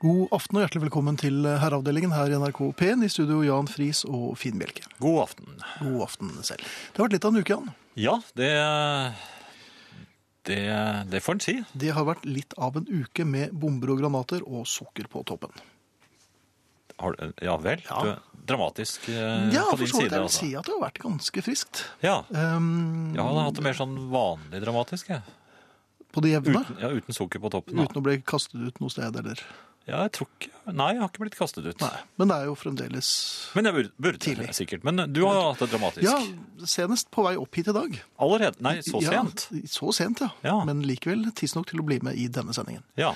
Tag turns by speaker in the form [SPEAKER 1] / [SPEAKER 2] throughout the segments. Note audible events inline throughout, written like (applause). [SPEAKER 1] God aften og hjertelig velkommen til eh, Herreavdelingen her i NRK P1. I studio Jan Friis og Finn Bjelke.
[SPEAKER 2] God aften.
[SPEAKER 1] God aften selv. Det har vært litt av en uke, Jan.
[SPEAKER 2] Ja, det Det, det får en si.
[SPEAKER 1] Det har vært litt av en uke med bomber og granater og sukker på toppen.
[SPEAKER 2] Har, du- ja vel.
[SPEAKER 1] Ja.
[SPEAKER 2] Du er dramatisk eh,
[SPEAKER 1] Ja,
[SPEAKER 2] på
[SPEAKER 1] for så
[SPEAKER 2] din
[SPEAKER 1] vidt.
[SPEAKER 2] side.
[SPEAKER 1] Jeg vil
[SPEAKER 2] altså.
[SPEAKER 1] si at det har vært ganske friskt.
[SPEAKER 2] Ja.
[SPEAKER 1] Ehm,
[SPEAKER 2] Jeg hadde hatt det mer sånn vanlig dramatisk. Jeg.
[SPEAKER 1] På det jevne.
[SPEAKER 2] Uten, ja, uten sukker på toppen. Da.
[SPEAKER 1] Uten å bli kastet ut noe sted, eller
[SPEAKER 2] Ja, jeg tror ikke Nei, jeg har ikke blitt kastet ut.
[SPEAKER 1] Nei. Men det er jo fremdeles
[SPEAKER 2] Men jeg burde, burde
[SPEAKER 1] Tidlig.
[SPEAKER 2] sikkert. Men eh, du har hatt det dramatisk.
[SPEAKER 1] Ja, senest på vei opp hit i dag.
[SPEAKER 2] Allerede? Nei, så sent?
[SPEAKER 1] Ja, så sent, ja.
[SPEAKER 2] Ja.
[SPEAKER 1] Men likevel tidsnok til å bli med i denne sendingen.
[SPEAKER 2] Ja.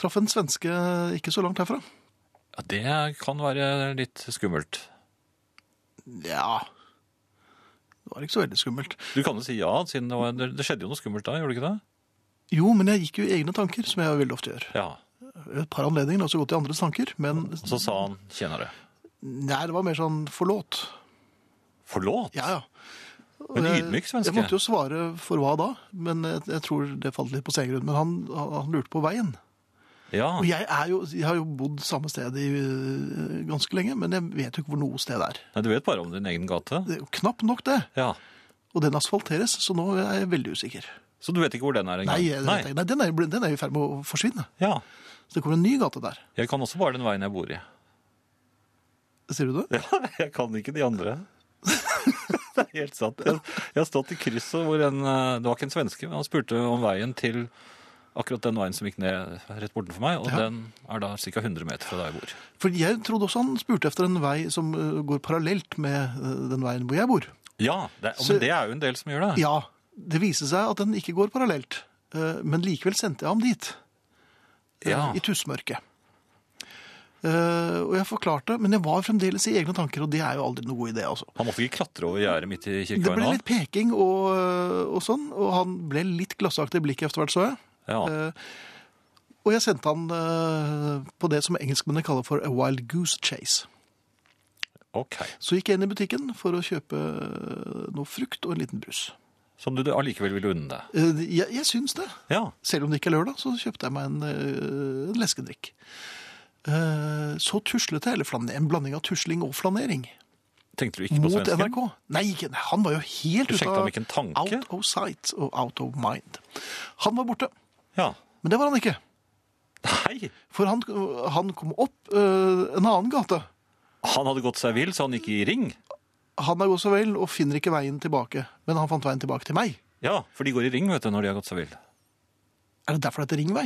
[SPEAKER 1] Traff en svenske ikke så langt herfra.
[SPEAKER 2] ja. Det kan være litt skummelt.
[SPEAKER 1] Ja Det var ikke så veldig skummelt.
[SPEAKER 2] Du kan jo si ja, siden det, var, det, det skjedde jo noe skummelt da, gjorde det ikke det?
[SPEAKER 1] Jo, men jeg gikk jo i egne tanker, som jeg veldig ofte gjør.
[SPEAKER 2] Ja.
[SPEAKER 1] Et par anledninger har jeg også gått i andres tanker, men
[SPEAKER 2] Og så sa han tjenere.
[SPEAKER 1] nei, det var mer sånn forlåt.
[SPEAKER 2] Forlåt?
[SPEAKER 1] Ja, ja.
[SPEAKER 2] Men
[SPEAKER 1] Og jeg-
[SPEAKER 2] ydmyk svenske.
[SPEAKER 1] Jeg måtte jo svare for hva da, men jeg, jeg tror det falt litt på sengrunn. Men han, han lurte på veien.
[SPEAKER 2] ja.
[SPEAKER 1] Og jeg, er jo, jeg har jo bodd samme sted i, øh, ganske lenge, men jeg vet jo ikke hvor noe sted er.
[SPEAKER 2] Nei, du vet bare om din egen gate.
[SPEAKER 1] Det er jo knapt nok det,
[SPEAKER 2] Ja.
[SPEAKER 1] og den asfalteres, så nå er jeg veldig usikker.
[SPEAKER 2] Så du vet ikke hvor den er engang?
[SPEAKER 1] Nei, jeg,
[SPEAKER 2] Nei.
[SPEAKER 1] Nei. Nei den er jo- den er jo i ferd med å forsvinne.
[SPEAKER 2] Ja.
[SPEAKER 1] Så det kommer en ny gate der.
[SPEAKER 2] Jeg kan også bare den veien jeg bor i.
[SPEAKER 1] Sier du det?
[SPEAKER 2] Ja, (laughs) jeg kan ikke de andre. (laughs) det er helt sant. Jeg, jeg har stått i krysset hvor en eh, Det var ikke en svenske, men han spurte om veien til akkurat den veien som gikk ned rett bortenfor meg, og den er da ca. 100 meter fra der jeg bor.
[SPEAKER 1] For jeg trodde også han spurte efter en vei som øh, går parallelt med øh, den veien hvor jeg bor.
[SPEAKER 2] Ja, det,
[SPEAKER 1] Så-
[SPEAKER 2] men det er jo en del som gjør det.
[SPEAKER 1] Ja, det viste seg at den ikke går parallelt, øh, men likevel sendte jeg ham dit. øh,
[SPEAKER 2] Ja.
[SPEAKER 1] I tussmørket. Eh, og jeg forklarte, men jeg var fremdeles i egne tanker, og det er jo aldri noen god idé, altså.
[SPEAKER 2] Han måtte ikke klatre over gjerdet midt i
[SPEAKER 1] Det ble
[SPEAKER 2] kirkeveien
[SPEAKER 1] litt peking og, øh, og sånn, og han ble litt glassaktig i blikket etter hvert, så jeg.
[SPEAKER 2] da? Ja.
[SPEAKER 1] Eh, og jeg sendte han eh, på det som engelskmennene kaller for a wild goose chase.
[SPEAKER 2] Ok.
[SPEAKER 1] Så gikk jeg inn i butikken for å kjøpe eh, noe frukt og en liten brus.
[SPEAKER 2] Som du allikevel ville unne deg.
[SPEAKER 1] Eh, Jeg, jeg syns det.
[SPEAKER 2] Ja.
[SPEAKER 1] Selv om det ikke er lørdag, så kjøpte jeg meg en, eh, en leskedrikk. Eh, Så tuslete, eller flaner, en blanding av tusling og flanering,
[SPEAKER 2] Tenkte du ikke på
[SPEAKER 1] mot
[SPEAKER 2] svensken?
[SPEAKER 1] NRK. Nei, ikke, nei, han var jo helt
[SPEAKER 2] Du
[SPEAKER 1] ute
[SPEAKER 2] skjenkte ham ikke en tanke?
[SPEAKER 1] Out of sight og out of mind. Han var borte,
[SPEAKER 2] Ja.
[SPEAKER 1] men det var han ikke.
[SPEAKER 2] Nei!
[SPEAKER 1] For han, han kom opp eh, en annen gate.
[SPEAKER 2] Han hadde gått seg vill, så han gikk i ring.
[SPEAKER 1] Han er god så vel og finner ikke veien tilbake, men han fant veien tilbake til meg.
[SPEAKER 2] Ja, for de går i ring, vet du, når de har gått seg vill. (laughs)
[SPEAKER 1] Er det derfor det heter ringvei?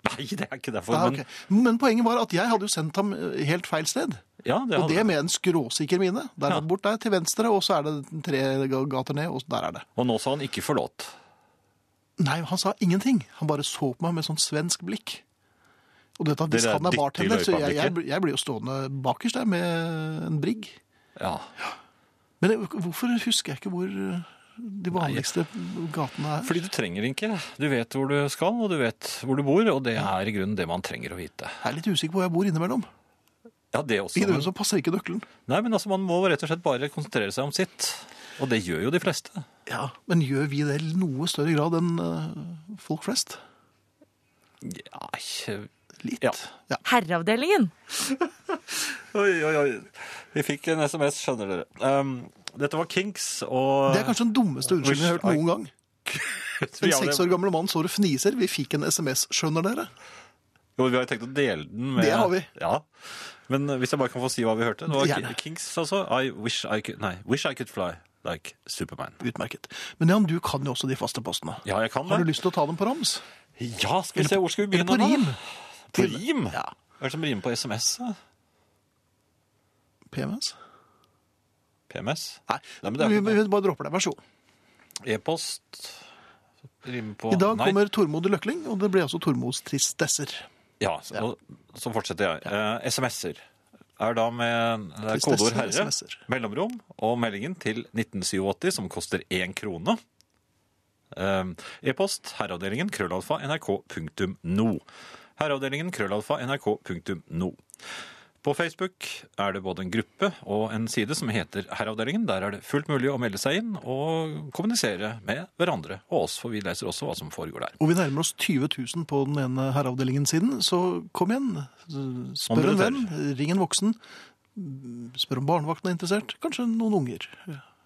[SPEAKER 2] Nei, det er ikke derfor,
[SPEAKER 1] Ja, ok. Men poenget var at jeg hadde jo sendt ham eh, helt feil sted.
[SPEAKER 2] men ja, det
[SPEAKER 1] Og det
[SPEAKER 2] hadde...
[SPEAKER 1] med en skråsikker mine. Der
[SPEAKER 2] Ja.
[SPEAKER 1] er det bort der til venstre, og så er det tre gater ned, og der er det.
[SPEAKER 2] og nå sa han ikke forlåt.
[SPEAKER 1] Nei, han sa ingenting. Han bare så på meg med sånn svensk blikk. Og du vet at hvis
[SPEAKER 2] Dere er
[SPEAKER 1] han er
[SPEAKER 2] dytte i
[SPEAKER 1] bartender, så jeg, jeg,
[SPEAKER 2] løypa-blikket.
[SPEAKER 1] jeg blir jo stående bakerst der med en brigg.
[SPEAKER 2] Ja.
[SPEAKER 1] Men jeg- hvorfor husker jeg ikke hvor eh, de vanligste gatene er?
[SPEAKER 2] Fordi du trenger ikke. Du vet hvor du skal, og du vet hvor du bor, og det er i grunnen det man trenger å vite.
[SPEAKER 1] Jeg er litt usikker på hvor jeg bor innimellom.
[SPEAKER 2] Ja, Sånn det også.
[SPEAKER 1] Innimellom
[SPEAKER 2] Men...
[SPEAKER 1] så passer ikke nøkkelen.
[SPEAKER 2] Nei, men altså, man må rett og slett bare konsentrere seg om sitt. Og det gjør jo de fleste.
[SPEAKER 1] Ja, Men gjør vi det i noe større grad enn eh, folk flest?
[SPEAKER 2] Ja, ikke...
[SPEAKER 1] Litt.
[SPEAKER 2] Ja.
[SPEAKER 1] Ja.
[SPEAKER 3] Herreavdelingen.
[SPEAKER 2] Oi, oi, oi. Vi fikk en sms, skjønner dere. Ehm, dette var Kinks, og...
[SPEAKER 1] Det er
[SPEAKER 2] (laughs)
[SPEAKER 1] kanskje den dummeste unnskyldningen jeg har hørt noen gang.
[SPEAKER 2] Vi
[SPEAKER 1] En
[SPEAKER 2] har det-
[SPEAKER 1] seks år gammel mann står og fniser. Vi fikk en SMS, skjønner dere?
[SPEAKER 2] Jo, vi har tenkt å dele den med
[SPEAKER 1] Det har vi.
[SPEAKER 2] Ja. Men eh, hvis jeg bare kan få si hva vi hørte. Det var
[SPEAKER 1] Gjerne.
[SPEAKER 2] Ki- Kings, altså. I wish I could Nei, Wish I could fly like Superman.
[SPEAKER 1] Utmerket. Men Jan, du kan jo også de faste postene.
[SPEAKER 2] Ja, jeg kan det.
[SPEAKER 1] Har du lyst til å ta dem på rams?
[SPEAKER 2] Ja, skal vi se, hvor skal vi
[SPEAKER 1] Eller
[SPEAKER 2] begynne
[SPEAKER 1] på rim?
[SPEAKER 2] da? På rim?
[SPEAKER 1] Ja.
[SPEAKER 2] Hva er det som rimer på SMS? da?
[SPEAKER 1] PMS?
[SPEAKER 2] PMS?
[SPEAKER 1] Nei,
[SPEAKER 2] Nei, men det er
[SPEAKER 1] vi,
[SPEAKER 2] ikke
[SPEAKER 1] vi bare dropper det. Vær så god.
[SPEAKER 2] E-post? Rimer på
[SPEAKER 1] I dag
[SPEAKER 2] Nei.
[SPEAKER 1] kommer Tormod Løkling, og det blir altså Tormods tristesser.
[SPEAKER 2] Ja, så, og så fortsetter jeg. Eh, SMS-er er da med det er
[SPEAKER 1] Tristesse
[SPEAKER 2] kodeord herre,
[SPEAKER 1] SMS-er.
[SPEAKER 2] mellomrom og meldingen til 1987, som koster én krone. Eh, E-post herreavdelingen krøllalfa nrk.no. Herreavdelingen krøllalfa nrk.no. På Facebook er det både en gruppe og en side som heter Herreavdelingen. Der er det fullt mulig å melde seg inn og kommunisere med hverandre og oss, for vi leser også hva som foregår der.
[SPEAKER 1] Og vi nærmer oss 20 000 på den ene herreavdelingen siden, så kom igjen. Spør
[SPEAKER 2] dere
[SPEAKER 1] en venn, ring en voksen. Spør om barnevakten er interessert. Kanskje noen unger.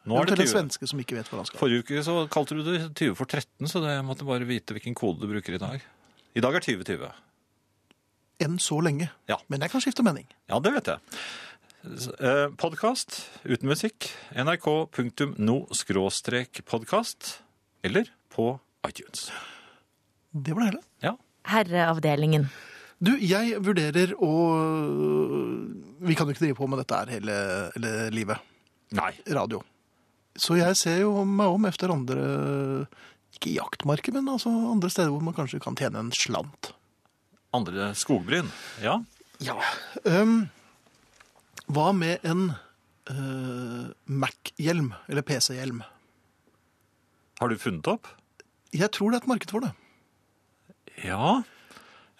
[SPEAKER 2] Nå er det
[SPEAKER 1] Eventuelt en
[SPEAKER 2] 20.
[SPEAKER 1] svenske som ikke vet hvor han skal.
[SPEAKER 2] Forrige uke så kalte du det 20 for 13, så jeg måtte bare vite hvilken kode du bruker i dag. I dag er 2020.
[SPEAKER 1] Enn så lenge.
[SPEAKER 2] Ja.
[SPEAKER 1] Men jeg kan skifte mening.
[SPEAKER 2] Ja, det vet jeg. Eh, Podkast uten musikk. nrk.no-podkast. Eller på iTunes.
[SPEAKER 1] Det var det hele.
[SPEAKER 2] Ja.
[SPEAKER 3] Herreavdelingen.
[SPEAKER 1] Du, jeg vurderer å Vi kan jo ikke drive på med dette her hele, hele livet.
[SPEAKER 2] Nei.
[SPEAKER 1] Radio. Så jeg ser jo meg om etter andre Ikke jaktmarker, men altså andre steder hvor man kanskje kan tjene en slant.
[SPEAKER 2] Andre skogbryn. Ja.
[SPEAKER 1] Ja. Um, hva med en eh, Mac-hjelm, eller PC-hjelm?
[SPEAKER 2] Har du funnet opp?
[SPEAKER 1] Jeg tror det er et marked for det.
[SPEAKER 2] Ja.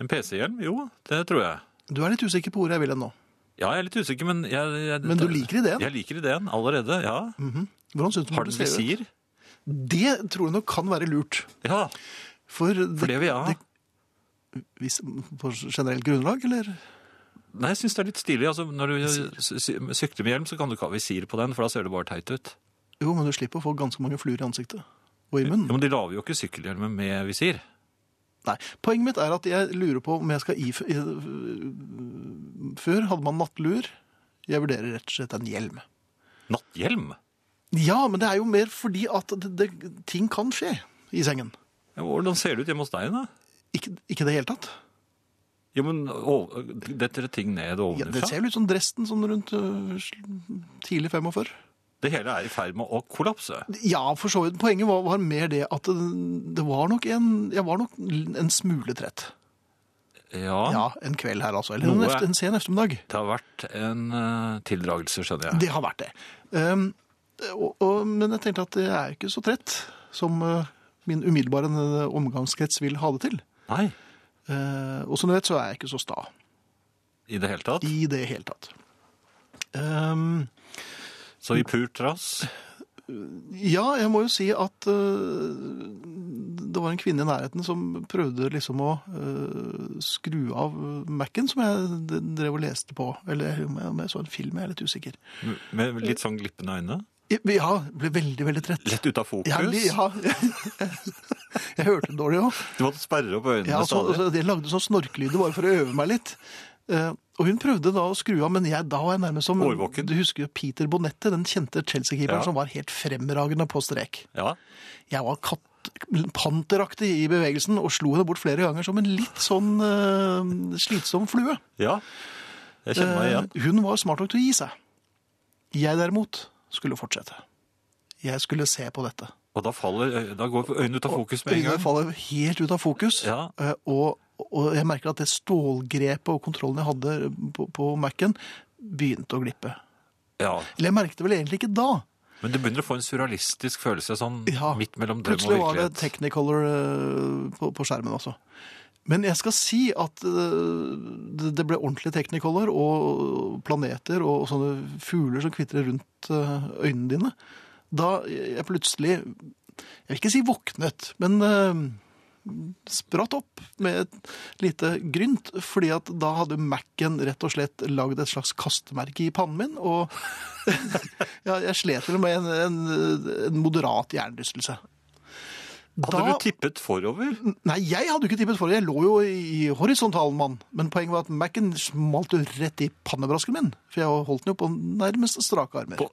[SPEAKER 2] En PC-hjelm? Jo, det tror jeg.
[SPEAKER 1] Du er litt usikker på hvor jeg vil hen nå.
[SPEAKER 2] Ja, jeg er litt usikker, men jeg, jeg,
[SPEAKER 1] Men du liker ideen?
[SPEAKER 2] Jeg liker ideen allerede, ja.
[SPEAKER 1] Hvordan synes du
[SPEAKER 2] Har den
[SPEAKER 1] ser ut?
[SPEAKER 2] visir?
[SPEAKER 1] Det tror jeg nok kan være lurt.
[SPEAKER 2] Ja,
[SPEAKER 1] For,
[SPEAKER 2] for det vil jeg ha.
[SPEAKER 1] det- hvis, på generelt grunnlag, eller?
[SPEAKER 2] Nei, jeg syns det er litt stilig. Altså, når du sy- sy- sykler med hjelm, så kan du ikke ha visir på den, for da ser det bare teit ut.
[SPEAKER 1] Jo, men du slipper å få ganske mange fluer i ansiktet. Og i munnen.
[SPEAKER 2] Jo, men de lager jo ikke sykkelhjelmer med visir.
[SPEAKER 1] Nei. Poenget mitt er at jeg lurer på om jeg skal if... Før hadde man nattluer. Jeg vurderer rett og slett en hjelm.
[SPEAKER 2] Natthjelm?
[SPEAKER 1] Ja, men det er jo mer fordi at det, det, ting kan skje i sengen.
[SPEAKER 2] Ja, Hvordan ser det ut hjemme hos deg, da?
[SPEAKER 1] Ikke, ikke det hele tatt.
[SPEAKER 2] Jo, men å, detter det ting ned
[SPEAKER 1] Ja, det
[SPEAKER 2] ovenfra?
[SPEAKER 1] ser jo ut som Dresden sånn rundt øh, tidlig 45.
[SPEAKER 2] det hele er i ferd med å kollapse.
[SPEAKER 1] Ja, for så vidt. Poenget var, var mer det at det, det var nok en Jeg var nok en smule trett.
[SPEAKER 2] Ja.
[SPEAKER 1] Ja, en kveld her, altså. Eller
[SPEAKER 2] Noe
[SPEAKER 1] en,
[SPEAKER 2] er-
[SPEAKER 1] efter, en sen ettermiddag.
[SPEAKER 2] Det har vært en eh, tildragelse, skjønner jeg.
[SPEAKER 1] Det har vært det. Um, og, og, men jeg tenkte at jeg er jo ikke så trett som uh, min umiddelbare uh, omgangskrets vil ha det til.
[SPEAKER 2] Nei,
[SPEAKER 1] Uh, og som du vet, så er jeg ikke så sta
[SPEAKER 2] i det hele tatt.
[SPEAKER 1] i det hele tatt. Um,
[SPEAKER 2] Så i pur trass.
[SPEAKER 1] ja, jeg må jo si at uh, det var en kvinne i nærheten som prøvde liksom å uh, skru av Mac-en, som jeg d- drev og leste på. Eller om jeg, om jeg så en film, jeg er litt usikker.
[SPEAKER 2] Med litt sånn glippende øyne.
[SPEAKER 1] Ja, ble veldig, veldig trett.
[SPEAKER 2] Lett ut av fokus.
[SPEAKER 1] Ja, li- ja. (laughs) Jeg hørte det dårlig òg.
[SPEAKER 2] Du måtte sperre opp øynene
[SPEAKER 1] Ja, altså,
[SPEAKER 2] stadig.
[SPEAKER 1] altså, jeg lagde sånn snorkelyder bare for å øve meg litt. Eh, og hun prøvde da å skru av, men jeg, da var jeg nærmest som
[SPEAKER 2] Årvåken.
[SPEAKER 1] Du husker jo Peter Bonette, den kjente Chelsea-keeperen
[SPEAKER 2] Ja.
[SPEAKER 1] som var helt fremragende på strek.
[SPEAKER 2] Ja.
[SPEAKER 1] Jeg var katt, panteraktig i bevegelsen og slo henne bort flere ganger som en litt sånn eh, slitsom flue.
[SPEAKER 2] ja. Jeg kjenner meg igjen.
[SPEAKER 1] Eh, Hun var smart nok til å gi seg. Jeg derimot skulle fortsette. Jeg skulle se på dette.
[SPEAKER 2] Og da, faller, da går øynene ut av fokus med en
[SPEAKER 1] Øynene
[SPEAKER 2] gang.
[SPEAKER 1] faller helt ut av fokus.
[SPEAKER 2] Ja.
[SPEAKER 1] Eh, Og, og jeg merker at det stålgrepet og kontrollen jeg hadde på, på Mac-en, begynte å glippe.
[SPEAKER 2] Ja.
[SPEAKER 1] Eller jeg merket det vel egentlig ikke da.
[SPEAKER 2] Men du begynner å få en surrealistisk følelse sånn
[SPEAKER 1] Ja.
[SPEAKER 2] midt mellom drøm og
[SPEAKER 1] Plutselig var det
[SPEAKER 2] virkelighet.
[SPEAKER 1] Technicolor eh, på, på skjermen også. Men jeg skal si at eh, det- det ble ordentlig Technicolor, og planeter og sånne fugler som kvitrer rundt eh, øynene dine. Da jeg plutselig, jeg vil ikke si våknet, men eh, spratt opp med et lite grynt, fordi at da hadde Mac-en rett og slett lagd et slags kastemerke i pannen min, og (laughs) ja, jeg slet vel med en, en, en moderat hjernerystelse.
[SPEAKER 2] Hadde du tippet forover?
[SPEAKER 1] Nei, jeg hadde jo ikke tippet for det. Jeg lå jo i horisontalen, mann. Men poenget var at Mac-en smalt jo rett i pannebrasken min. For jeg holdt den jo på nærmest strake armer.
[SPEAKER 2] På,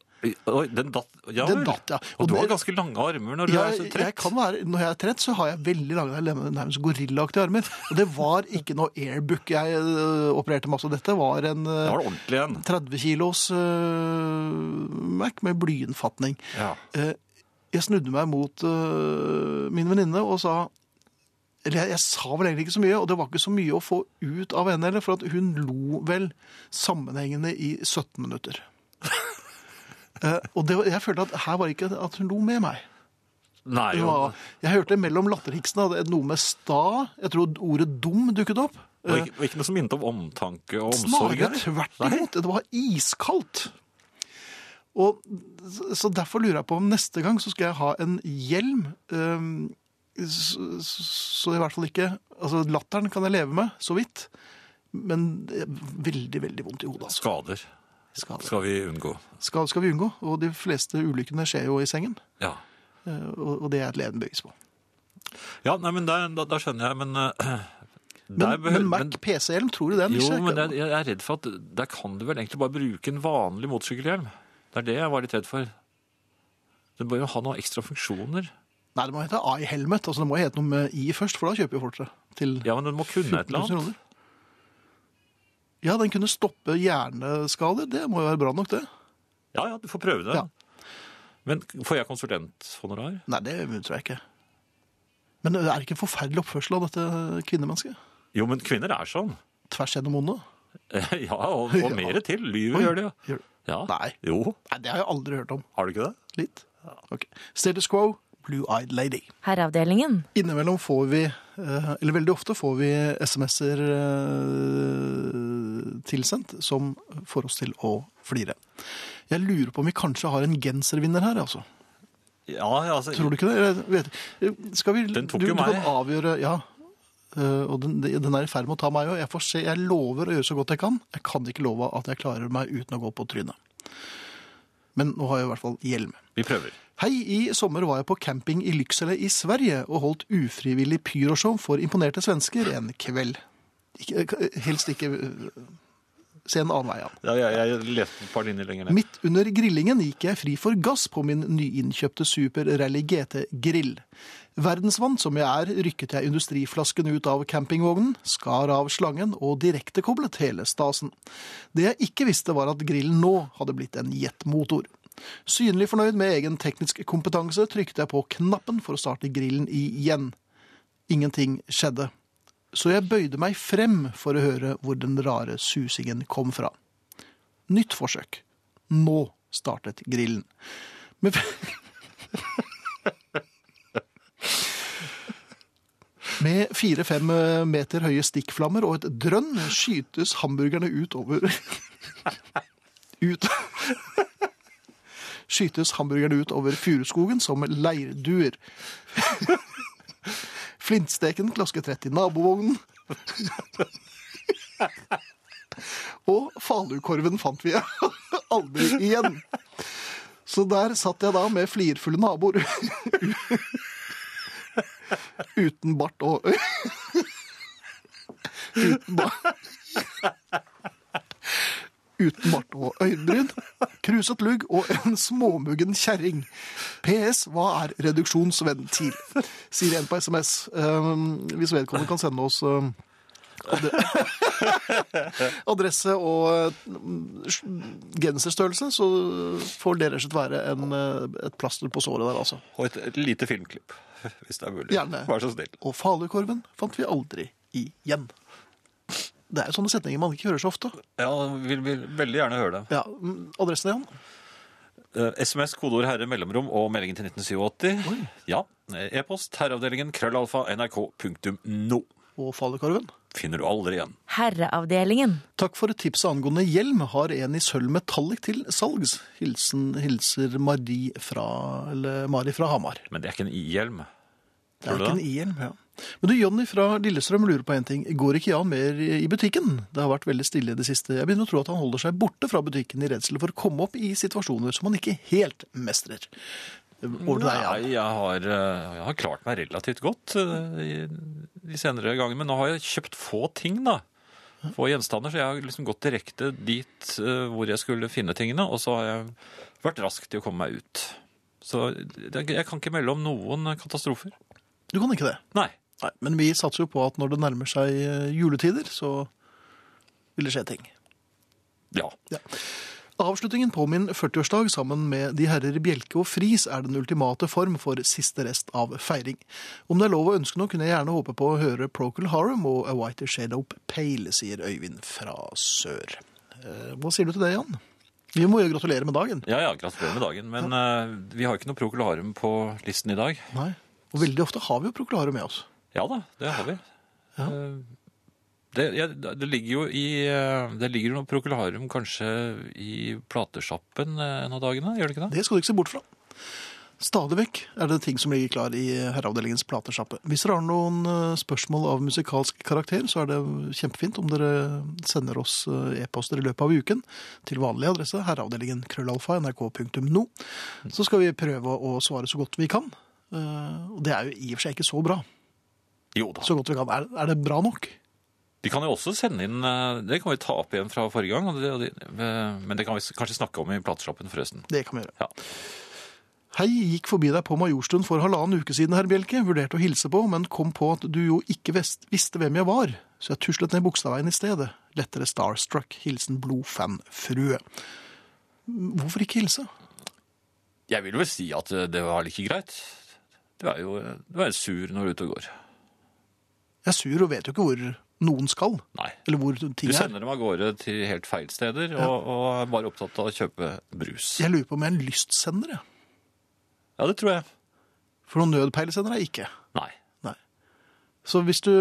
[SPEAKER 2] oi, den datt. Ja
[SPEAKER 1] Den
[SPEAKER 2] vel.
[SPEAKER 1] datt, ja.
[SPEAKER 2] Og,
[SPEAKER 1] Og
[SPEAKER 2] du
[SPEAKER 1] det-
[SPEAKER 2] har ganske lange armer når du er så
[SPEAKER 1] jeg, jeg
[SPEAKER 2] trett.
[SPEAKER 1] kan være, når jeg er trett, så har jeg veldig lange, eller nærmest gorillaaktige armer. Og det var ikke noe airbook jeg øh, opererte med. Altså, dette var en øh,
[SPEAKER 2] Det var ordentlig en.
[SPEAKER 1] 30 kilos øh, Mac med blyinnfatning.
[SPEAKER 2] Ja.
[SPEAKER 1] Eh, jeg snudde meg mot eh, min venninne og sa eller jeg, jeg sa vel egentlig ikke så mye, og det var ikke så mye å få ut av henne heller, for at hun lo vel sammenhengende i 17 minutter. (laughs) Eh, og det, var- jeg følte at her var ikke at hun lo med meg.
[SPEAKER 2] Nei,
[SPEAKER 1] Det
[SPEAKER 2] jo.
[SPEAKER 1] var, jeg hørte mellom latterhiksene at det- noe med sta, jeg tror ordet dum dukket opp.
[SPEAKER 2] Og ikke, og ikke noe som minnet om omtanke og omsorg?
[SPEAKER 1] eh, Snarere
[SPEAKER 2] eller?
[SPEAKER 1] tvert
[SPEAKER 2] Nei.
[SPEAKER 1] imot. Det var iskaldt. Og, så derfor lurer jeg på om neste gang så skal jeg ha en hjelm. ehm, så, så i hvert fall ikke Altså, latteren kan jeg leve med, så vidt. Men det er veldig, veldig vondt i hodet. Altså.
[SPEAKER 2] Skader
[SPEAKER 1] Skal,
[SPEAKER 2] skal vi unngå.
[SPEAKER 1] skal, skal vi unngå. Og de fleste ulykkene skjer jo i sengen.
[SPEAKER 2] Ja.
[SPEAKER 1] eh, Og, og det er et levende bevis på.
[SPEAKER 2] Ja, nei, men der, da, da skjønner jeg, men eh, (clears throat)
[SPEAKER 1] Men,
[SPEAKER 2] der behøver-
[SPEAKER 1] men Mac PC-hjelm, tror du den?
[SPEAKER 2] Jo,
[SPEAKER 1] ikke?
[SPEAKER 2] men jeg, jeg er redd for at der kan du vel egentlig bare bruke en vanlig motorsykkelhjelm. Det er det jeg var litt redd for. Det bør jo ha noen ekstra funksjoner.
[SPEAKER 1] Nei, det må hete i-helmet. Altså, det må hete noe med i først, for da kjøper jo folk det. Til
[SPEAKER 2] Ja, men den må kunne
[SPEAKER 1] 14 000
[SPEAKER 2] et eller annet.
[SPEAKER 1] kroner. Ja, den kunne stoppe hjerneskader. Det må jo være bra nok, det.
[SPEAKER 2] Ja, ja, du får prøve det.
[SPEAKER 1] Ja.
[SPEAKER 2] Men får jeg konsulenthonorar?
[SPEAKER 1] Nei, det tror jeg ikke. Men det er ikke en forferdelig oppførsel av dette kvinnemennesket?
[SPEAKER 2] Jo, men kvinner er sånn.
[SPEAKER 1] Tvers gjennom ånden?
[SPEAKER 2] (laughs) Ja, og, og mer til. Lyver
[SPEAKER 1] Oi.
[SPEAKER 2] gjør det, jo.
[SPEAKER 1] Gjør-
[SPEAKER 2] Ja.
[SPEAKER 1] Nei.
[SPEAKER 2] Jo,
[SPEAKER 1] Nei, det har jeg aldri hørt om.
[SPEAKER 2] har du ikke det?
[SPEAKER 1] Litt? Ok. Status quo, blue-eyed lady.
[SPEAKER 3] Herreavdelingen.
[SPEAKER 1] Innimellom får vi, eh, eller veldig ofte får vi SMS-er eh, tilsendt som får oss til å flire. Jeg lurer på om vi kanskje har en genservinner her, altså.
[SPEAKER 2] Ja, altså,
[SPEAKER 1] Tror du ikke det? Eller, vet, skal vi,
[SPEAKER 2] Den tok
[SPEAKER 1] du,
[SPEAKER 2] jo
[SPEAKER 1] Du
[SPEAKER 2] meg.
[SPEAKER 1] kan avgjøre, ja. Eh, og den, den er i ferd med å ta meg òg. Jeg får se, jeg lover å gjøre så godt jeg kan. Jeg kan ikke love at jeg klarer meg uten å gå på trynet. Men nå har jeg i hvert fall hjelm.
[SPEAKER 2] vi prøver.
[SPEAKER 1] Hei, i sommer var jeg på camping i Lycksele i Sverige og holdt ufrivillig pyroshow for imponerte svensker en kveld. Ikke, helst ikke eh, se en annen vei an.
[SPEAKER 2] Ja, jeg, jeg leste et par linjer lenger ned.
[SPEAKER 1] Midt under grillingen gikk jeg fri for gass på min nyinnkjøpte Super Rally GT-grill. Verdensvant som jeg er, rykket jeg industriflasken ut av campingvognen, skar av slangen og direktekoblet hele stasen. Det jeg ikke visste var at grillen nå hadde blitt en jetmotor. Synlig fornøyd med egen teknisk kompetanse trykte jeg på knappen for å starte grillen igjen. Ingenting skjedde. Så jeg bøyde meg frem for å høre hvor den rare susingen kom fra. Nytt forsøk. Nå startet grillen. Med, Med fire-fem eh, meter høye stikkflammer og et drønn skytes hamburgerne ut over Ut Skytes hamburgerne ut over furuskogen som leirduer. Flintsteken klasket rett i nabovognen. Og falukorven fant vi (laughs) aldri igjen. Så der satt jeg da med flirfulle naboer. (laughs) Uten bart og (laughs) Uten bart (laughs) Uten bart og øyenbryn, kruset lugg og en småmuggen kjerring. PS hva er reduksjonsventil? Sier en på SMS. Um, hvis vedkommende kan sende oss um, adresse og mm, sj- genserstørrelse, så får det rett og slett være en, eh, et plaster på såret der, altså.
[SPEAKER 2] Og et, et lite filmklipp, (laughs) hvis det er mulig.
[SPEAKER 1] Gjerne.
[SPEAKER 2] Vær så snill.
[SPEAKER 1] Og falukorven fant vi aldri igjen. Det er jo sånne setninger man ikke hører så ofte.
[SPEAKER 2] Ja, vi vil veldig gjerne høre det.
[SPEAKER 1] Ja, mm, Adressen igjen?
[SPEAKER 2] Eh, SMS, kodeord herre, mellomrom og meldingen til 1987.
[SPEAKER 1] Oi.
[SPEAKER 2] Ja. eh, E-post herreavdelingen krøllalfa nrk.no.
[SPEAKER 1] Og falukorven?
[SPEAKER 2] Finner du aldri igjen.
[SPEAKER 3] Herreavdelingen.
[SPEAKER 1] Takk for tipset angående hjelm. Har en i sølv metallic til salgs. Hilsen, hilser Mari fra, eller Mari fra Hamar.
[SPEAKER 2] Men det er ikke en i-hjelm.
[SPEAKER 1] Det er
[SPEAKER 2] Tror du
[SPEAKER 1] ikke en
[SPEAKER 2] det?
[SPEAKER 1] i-hjelm, ja. Men du, Jonny fra Lillestrøm lurer på en ting. Går ikke Jan mer i butikken? Det har vært veldig stille i det siste. Jeg begynner å tro at han holder seg borte fra butikken i redsel for å komme opp i situasjoner som han ikke helt mestrer. Over til deg, Jan.
[SPEAKER 2] Nei, jeg har, eh, jeg har klart meg relativt godt eh, i de senere gangene. Men nå har jeg kjøpt få ting, da. Få gjenstander. Så jeg har liksom gått direkte dit eh, hvor jeg skulle finne tingene. Og så har jeg vært rask til å komme meg ut. Så det- jeg kan ikke melde om noen katastrofer.
[SPEAKER 1] Du kan ikke det.
[SPEAKER 2] Nei.
[SPEAKER 1] Nei, men vi satser jo på at når det nærmer seg eh, juletider, så vil det skje ting.
[SPEAKER 2] Ja.
[SPEAKER 1] Avslutningen på min 40-årsdag sammen med de herrer Bjelke og Friis er den ultimate form for siste rest av feiring. Om det er lov å ønske noe, kunne jeg gjerne håpe på å høre Procol Harum og A Whiter Shade Up Pale, sier Øyvind fra sør. Eh, Hva sier du til det, Jan? Vi må jo gratulere med dagen.
[SPEAKER 2] Ja, ja, gratulerer med dagen. Men eh, vi har ikke noe Procol Harum på listen i dag.
[SPEAKER 1] Nei. Og veldig ofte har vi jo Procol Harum med oss.
[SPEAKER 2] Ja da, det har vi. Eh, Det, jeg, det ligger jo i eh, Det ligger jo noe prokularium kanskje i platesjappen eh, en av dagene, gjør det ikke det?
[SPEAKER 1] Det skal du ikke se bort fra. Stadig vekk er det ting som ligger klar i herreavdelingens platesjappe. Hvis dere har noen eh, spørsmål av musikalsk karakter, så er det kjempefint om dere sender oss eh, e-poster i løpet av uken til vanlig adresse herreavdelingen krøllalfa nrk.no. Så skal vi prøve å svare så godt vi kan. Eh, Og det er jo i og for seg ikke så bra.
[SPEAKER 2] Jo da.
[SPEAKER 1] Så godt vi kan. Er, er det bra nok?
[SPEAKER 2] Vi kan jo også sende inn eh, Det kan vi ta opp igjen fra forrige gang. Og det, og det, eh, men det kan vi s- kanskje snakke om i platesjappen, forresten.
[SPEAKER 1] Det kan vi gjøre.
[SPEAKER 2] Ja.
[SPEAKER 1] Hei, gikk forbi deg på Majorstuen for halvannen uke siden, herr Bjelke. Vurderte å hilse på, men kom på at du jo ikke vest- visste hvem jeg var, så jeg tuslet ned Bogstadveien i stedet. Lettere starstruck. Hilsen blodfanfrue. Hvorfor ikke hilse?
[SPEAKER 2] Jeg vil vel si at eh, det var like greit. Du er jo eh, du er sur når du er ute og går.
[SPEAKER 1] Jeg er sur og vet jo ikke hvor noen skal,
[SPEAKER 2] Nei.
[SPEAKER 1] eller hvor
[SPEAKER 2] Du
[SPEAKER 1] ting er.
[SPEAKER 2] sender dem av gårde til helt feil steder og, og er bare opptatt av å kjøpe brus.
[SPEAKER 1] Jeg lurer på om jeg er en lystsender, jeg.
[SPEAKER 2] Ja, det tror jeg.
[SPEAKER 1] For noen nødpeilesender er jeg ikke.
[SPEAKER 2] Nei.
[SPEAKER 1] Nei. Så hvis du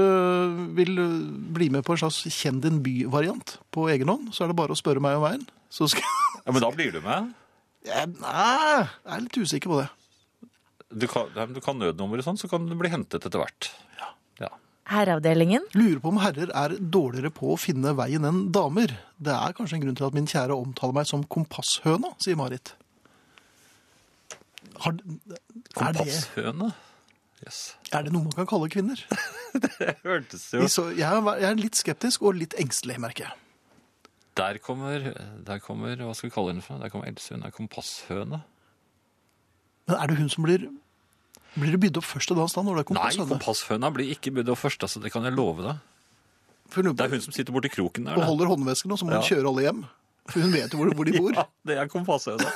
[SPEAKER 1] vil bli med på en slags kjenn din by-variant på egen hånd, så er det bare å spørre meg om veien. Så skal (laughs)
[SPEAKER 2] Ja, men da blir du med.
[SPEAKER 1] jeg Nei, jeg er litt usikker på det.
[SPEAKER 2] Du kan, nei, men du kan nødnummeret sånn, så kan du bli hentet etter hvert. Ja.
[SPEAKER 3] Herreavdelingen.
[SPEAKER 1] Lurer på om herrer er dårligere på å finne veien enn damer. Det er kanskje en grunn til at min kjære omtaler meg som kompasshøna, sier Marit. Har, er, det,
[SPEAKER 2] Kompasshøne. Yes.
[SPEAKER 1] er det noe man kan kalle
[SPEAKER 2] (laughs)
[SPEAKER 1] kvinner?
[SPEAKER 2] Det hørtes jo
[SPEAKER 1] Vi så- Jeg er, jeg er litt skeptisk og litt engstelig, merker jeg.
[SPEAKER 2] Der kommer, der kommer Hva skal vi kalle henne for? noe? Der kommer Else. Hun er kompasshøne.
[SPEAKER 1] Men er det hun som blir Blir det bydd opp først til dans da, når det er
[SPEAKER 2] Nei,
[SPEAKER 1] kompasshøne?
[SPEAKER 2] kompasshøna blir ikke budd av først, altså. Det kan jeg love deg.
[SPEAKER 1] For hun
[SPEAKER 2] Det
[SPEAKER 1] lurer
[SPEAKER 2] er hun som sitter borti
[SPEAKER 1] på-
[SPEAKER 2] kroken der.
[SPEAKER 1] og
[SPEAKER 2] det.
[SPEAKER 1] holder håndvesken, og så må hun
[SPEAKER 2] Ja.
[SPEAKER 1] kjøre alle hjem. For hun vet jo hvor, hvor
[SPEAKER 2] (laughs)
[SPEAKER 1] de bor.
[SPEAKER 2] Ja, det er kompasshøna.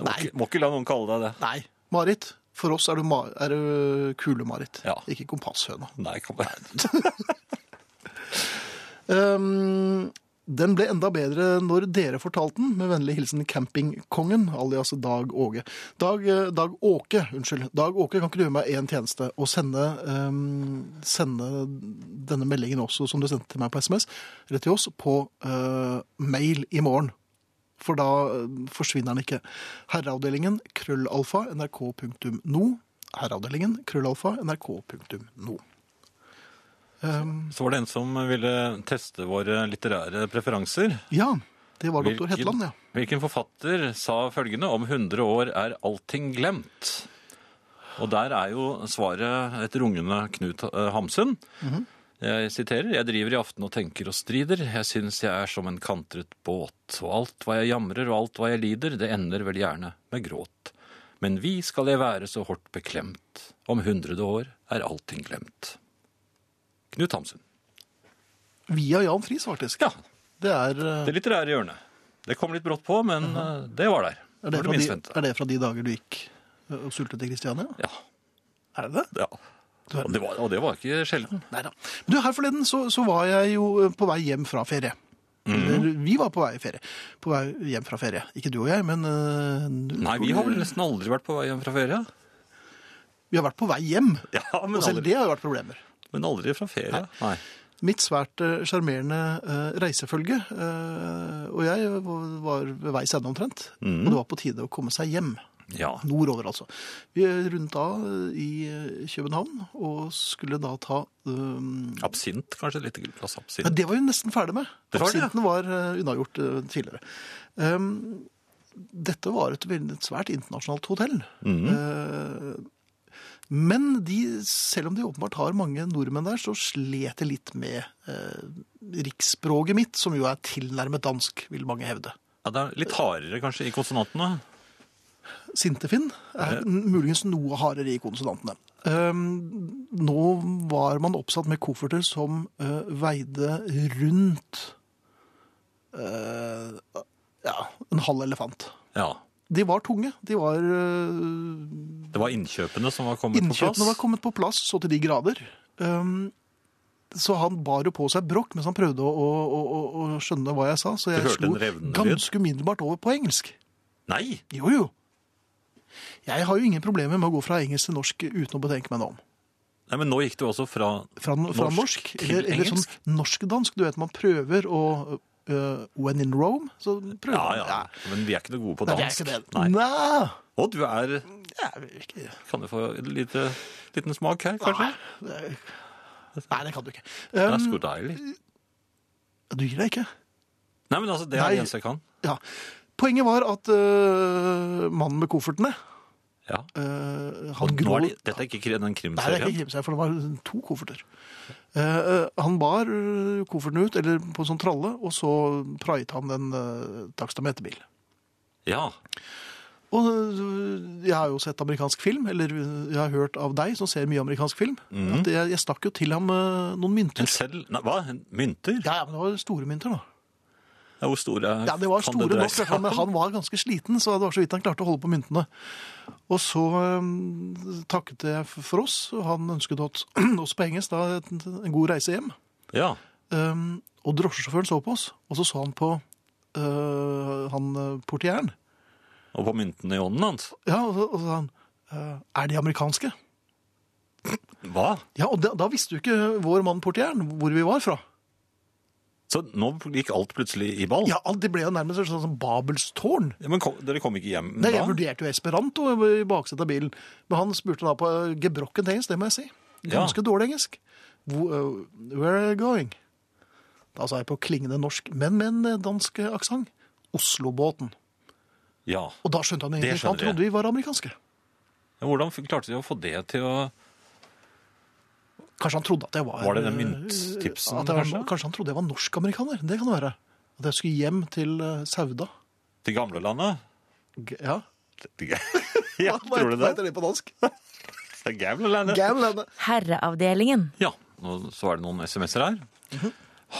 [SPEAKER 2] Du må, ikke- må ikke la noen kalle deg det.
[SPEAKER 1] Nei. Marit, for oss er du, ma- er du kule-Marit,
[SPEAKER 2] Ja.
[SPEAKER 1] ikke kompasshøna.
[SPEAKER 2] Nei, kom igjen.
[SPEAKER 1] Ehm, den ble enda bedre når dere fortalte den, med vennlig hilsen campingkongen, alias Dag Åge. Dag, eh, Dag Åke, unnskyld. Dag Åke, kan ikke du gjøre meg én tjeneste og sende, ehm, sende denne meldingen også, som du sendte til meg på SMS, eller til oss, på eh, mail i morgen? For da eh, forsvinner den ikke. Herreavdelingen krøllalfa nrk.no. Herreavdelingen krøllalfa nrk.no. Ehm,
[SPEAKER 2] Så var det en som ville teste våre litterære preferanser.
[SPEAKER 1] ja, det var doktor
[SPEAKER 2] Hvilken-
[SPEAKER 1] Hetland, ja.
[SPEAKER 2] Hvilken forfatter sa følgende om 100 år er allting glemt? Og der er jo svaret et rungende Knut eh, Hamsun. Jeg siterer Jeg driver i aften og tenker og strider. Jeg syns jeg er som en kantret båt. Og alt hva jeg jamrer og alt hva jeg lider, det ender vel gjerne med gråt. Men vi skal jeg være så hårdt beklemt. Om hundrede år er allting glemt. Knut Hamsun.
[SPEAKER 1] Via Jan Friis, faktisk.
[SPEAKER 2] Ja,
[SPEAKER 1] Det er, eh,
[SPEAKER 2] det litterære hjørnet. Det kom litt brått på, men eh, det var der.
[SPEAKER 1] er, det
[SPEAKER 2] Når
[SPEAKER 1] fra
[SPEAKER 2] minst
[SPEAKER 1] de,
[SPEAKER 2] ventet.
[SPEAKER 1] er det fra de dager du gikk eh, og sultet i Kristiania?
[SPEAKER 2] Ja.
[SPEAKER 1] Er det det?
[SPEAKER 2] ja. Og, det var, og det var ikke sjelden.
[SPEAKER 1] Nei da. Du, her forleden så, så var jeg jo eh, på vei hjem fra ferie.
[SPEAKER 2] Mm.
[SPEAKER 1] Eller, Vi var på vei, i ferie. på vei hjem fra ferie. Ikke du og jeg, men eh, du-
[SPEAKER 2] Nei, vi har vel nesten aldri vært på vei hjem fra ferie.
[SPEAKER 1] vi har vært på vei hjem.
[SPEAKER 2] Ja, men
[SPEAKER 1] Og selv
[SPEAKER 2] aldri,
[SPEAKER 1] det har jo vært problemer.
[SPEAKER 2] men aldri fra ferie. Nei.
[SPEAKER 1] Mitt svært eh, sjarmerende eh, reisefølge, eh, og jeg var ved veis ende omtrent.
[SPEAKER 2] Mm.
[SPEAKER 1] Og det var på tide å komme seg hjem.
[SPEAKER 2] Ja.
[SPEAKER 1] Nordover, altså. Vi rundet av eh, i København og skulle da ta øhm,
[SPEAKER 2] Absint, kanskje. Et lite glass
[SPEAKER 1] ja,
[SPEAKER 2] absint.
[SPEAKER 1] Det var vi nesten ferdig med.
[SPEAKER 2] Det var det, ja.
[SPEAKER 1] Absinten var øh, unnagjort øh, tidligere. Ehm, dette var et, veldig- et svært internasjonalt hotell.
[SPEAKER 2] Mhm.
[SPEAKER 1] Ehm, men de, selv om de åpenbart har mange nordmenn der, så slet jeg litt med øh, riksspråket mitt, som jo er tilnærmet dansk, vil mange hevde.
[SPEAKER 2] Ja, det er litt hardere kanskje i konsonantene.
[SPEAKER 1] Sintefinn er muligens noe hardere i konsonantene. Ehm, nå var man oppsatt med kofferter som eh, veide rundt eh, ja, en halv elefant.
[SPEAKER 2] Ja.
[SPEAKER 1] De var tunge. De var eh,
[SPEAKER 2] Det var innkjøpene som var kommet på
[SPEAKER 1] Innkjøpene
[SPEAKER 2] plass.
[SPEAKER 1] var kommet på plass så til de grader. Ehm, så han bar jo på seg brokk mens han prøvde å, å, å, å skjønne hva jeg sa. Så jeg
[SPEAKER 2] hørte
[SPEAKER 1] slo
[SPEAKER 2] en revnende lyd?
[SPEAKER 1] ganske umiddelbart over på engelsk.
[SPEAKER 2] Nei!
[SPEAKER 1] Jo, jo. Jeg har jo ingen problemer med å gå fra engelsk til norsk uten å betenke meg noe om.
[SPEAKER 2] Nei, men nå gikk du også fra
[SPEAKER 1] Fra, fra norsk,
[SPEAKER 2] Norsk til
[SPEAKER 1] eller, eller sånn
[SPEAKER 2] engelsk?
[SPEAKER 1] norsk-dansk. Du vet, man prøver å øh, When in Rome, så prøver
[SPEAKER 2] Ja,
[SPEAKER 1] man.
[SPEAKER 2] ja. Men vi er ikke noe gode på
[SPEAKER 1] Nei, det er
[SPEAKER 2] dansk.
[SPEAKER 1] ikke det.
[SPEAKER 2] Nei.
[SPEAKER 1] Nei.
[SPEAKER 2] Og du er
[SPEAKER 1] Jeg vil ikke
[SPEAKER 2] Kan du få en lite, liten smak her, kanskje?
[SPEAKER 1] Nei, Nei, det kan du ikke.
[SPEAKER 2] Det er
[SPEAKER 1] Um,
[SPEAKER 2] så deilig.
[SPEAKER 1] du gir deg ikke.
[SPEAKER 2] Nei, men altså, det er
[SPEAKER 1] Nei.
[SPEAKER 2] det eneste jeg kan.
[SPEAKER 1] Ja. Poenget var at øh, mannen med koffertene
[SPEAKER 2] Ja.
[SPEAKER 1] øh,
[SPEAKER 2] Og
[SPEAKER 1] han
[SPEAKER 2] nå
[SPEAKER 1] grå...
[SPEAKER 2] er det, dette er ikke kri- den
[SPEAKER 1] Nei, det er
[SPEAKER 2] krimserien.
[SPEAKER 1] ikke krimseg, for det var to kofferter. Eh, eh, han bar eh, kofferten ut, eller på en sånn tralle, og så praiet han en uh, takstameterbil.
[SPEAKER 2] Ja.
[SPEAKER 1] Og eh, jeg har jo sett amerikansk film, eller eh, jeg har hørt av deg som ser mye amerikansk film, at jeg, jeg stakk jo til ham eh, noen
[SPEAKER 2] En
[SPEAKER 1] mynter.
[SPEAKER 2] seddel Nei, hva? En Mynter?
[SPEAKER 1] Ja, ja, men det var store mynter da.
[SPEAKER 2] Ja, hvor store kan
[SPEAKER 1] Ja, det var store nok,
[SPEAKER 2] dreie
[SPEAKER 1] i hvert fall, men han var ganske sliten, så det var så vidt han klarte å holde på myntene. Og så eh, takket jeg f- for oss, og han ønsket oss, (clears throat) oss på engelsk da, en, en god reise hjem.
[SPEAKER 2] Ja.
[SPEAKER 1] Um, og drosjesjåføren så på oss, og så så han på øh, han øh, portieren.
[SPEAKER 2] Og på mynten i ånden hans.
[SPEAKER 1] Ja, og så, og så sa han øh, Er de amerikanske?
[SPEAKER 2] Hva?
[SPEAKER 1] Ja, og da, da visste jo ikke vår mann portieren hvor vi var fra.
[SPEAKER 2] Så nå gikk alt plutselig i ball?
[SPEAKER 1] Ja, alt- Det ble jo nærmest et sånt som Babelstårn.
[SPEAKER 2] Ja, Men kom, dere kom ikke hjem
[SPEAKER 1] Nei,
[SPEAKER 2] da?
[SPEAKER 1] Jeg vurderte jo esperanto i baksetet av bilen, men han spurte da på øh, gebrokkent engelsk, det må jeg si.
[SPEAKER 2] Ja.
[SPEAKER 1] Ganske dårlig engelsk. Hvor, øh, Where are you going? Da sa jeg på klingende norsk, men med en øh, dansk aksent. Oslobåten.
[SPEAKER 2] Ja.
[SPEAKER 1] Og da skjønte han ingenting. for Han
[SPEAKER 2] skjønner jeg.
[SPEAKER 1] trodde vi var amerikanske.
[SPEAKER 2] Ja, Hvordan f- klarte de å få det til å
[SPEAKER 1] Kanskje han trodde at jeg var
[SPEAKER 2] Var det den mynttipsen,
[SPEAKER 1] Eh, at jeg var,
[SPEAKER 2] kanskje?
[SPEAKER 1] kanskje? han trodde jeg var norsk-amerikaner. Det kan det være. At jeg skulle hjem til eh, Sauda.
[SPEAKER 2] Til
[SPEAKER 1] (laughs)
[SPEAKER 2] gamlelandet?
[SPEAKER 1] G- Ja.
[SPEAKER 2] ja,
[SPEAKER 1] Hva- hva
[SPEAKER 2] tror du
[SPEAKER 1] Hva
[SPEAKER 2] det?
[SPEAKER 1] heter det på
[SPEAKER 2] (laughs)
[SPEAKER 1] dansk?
[SPEAKER 2] Det er Gamlelandet.
[SPEAKER 1] Gamlene.
[SPEAKER 3] Herreavdelingen.
[SPEAKER 2] Ja, nå så er det noen sms'er her.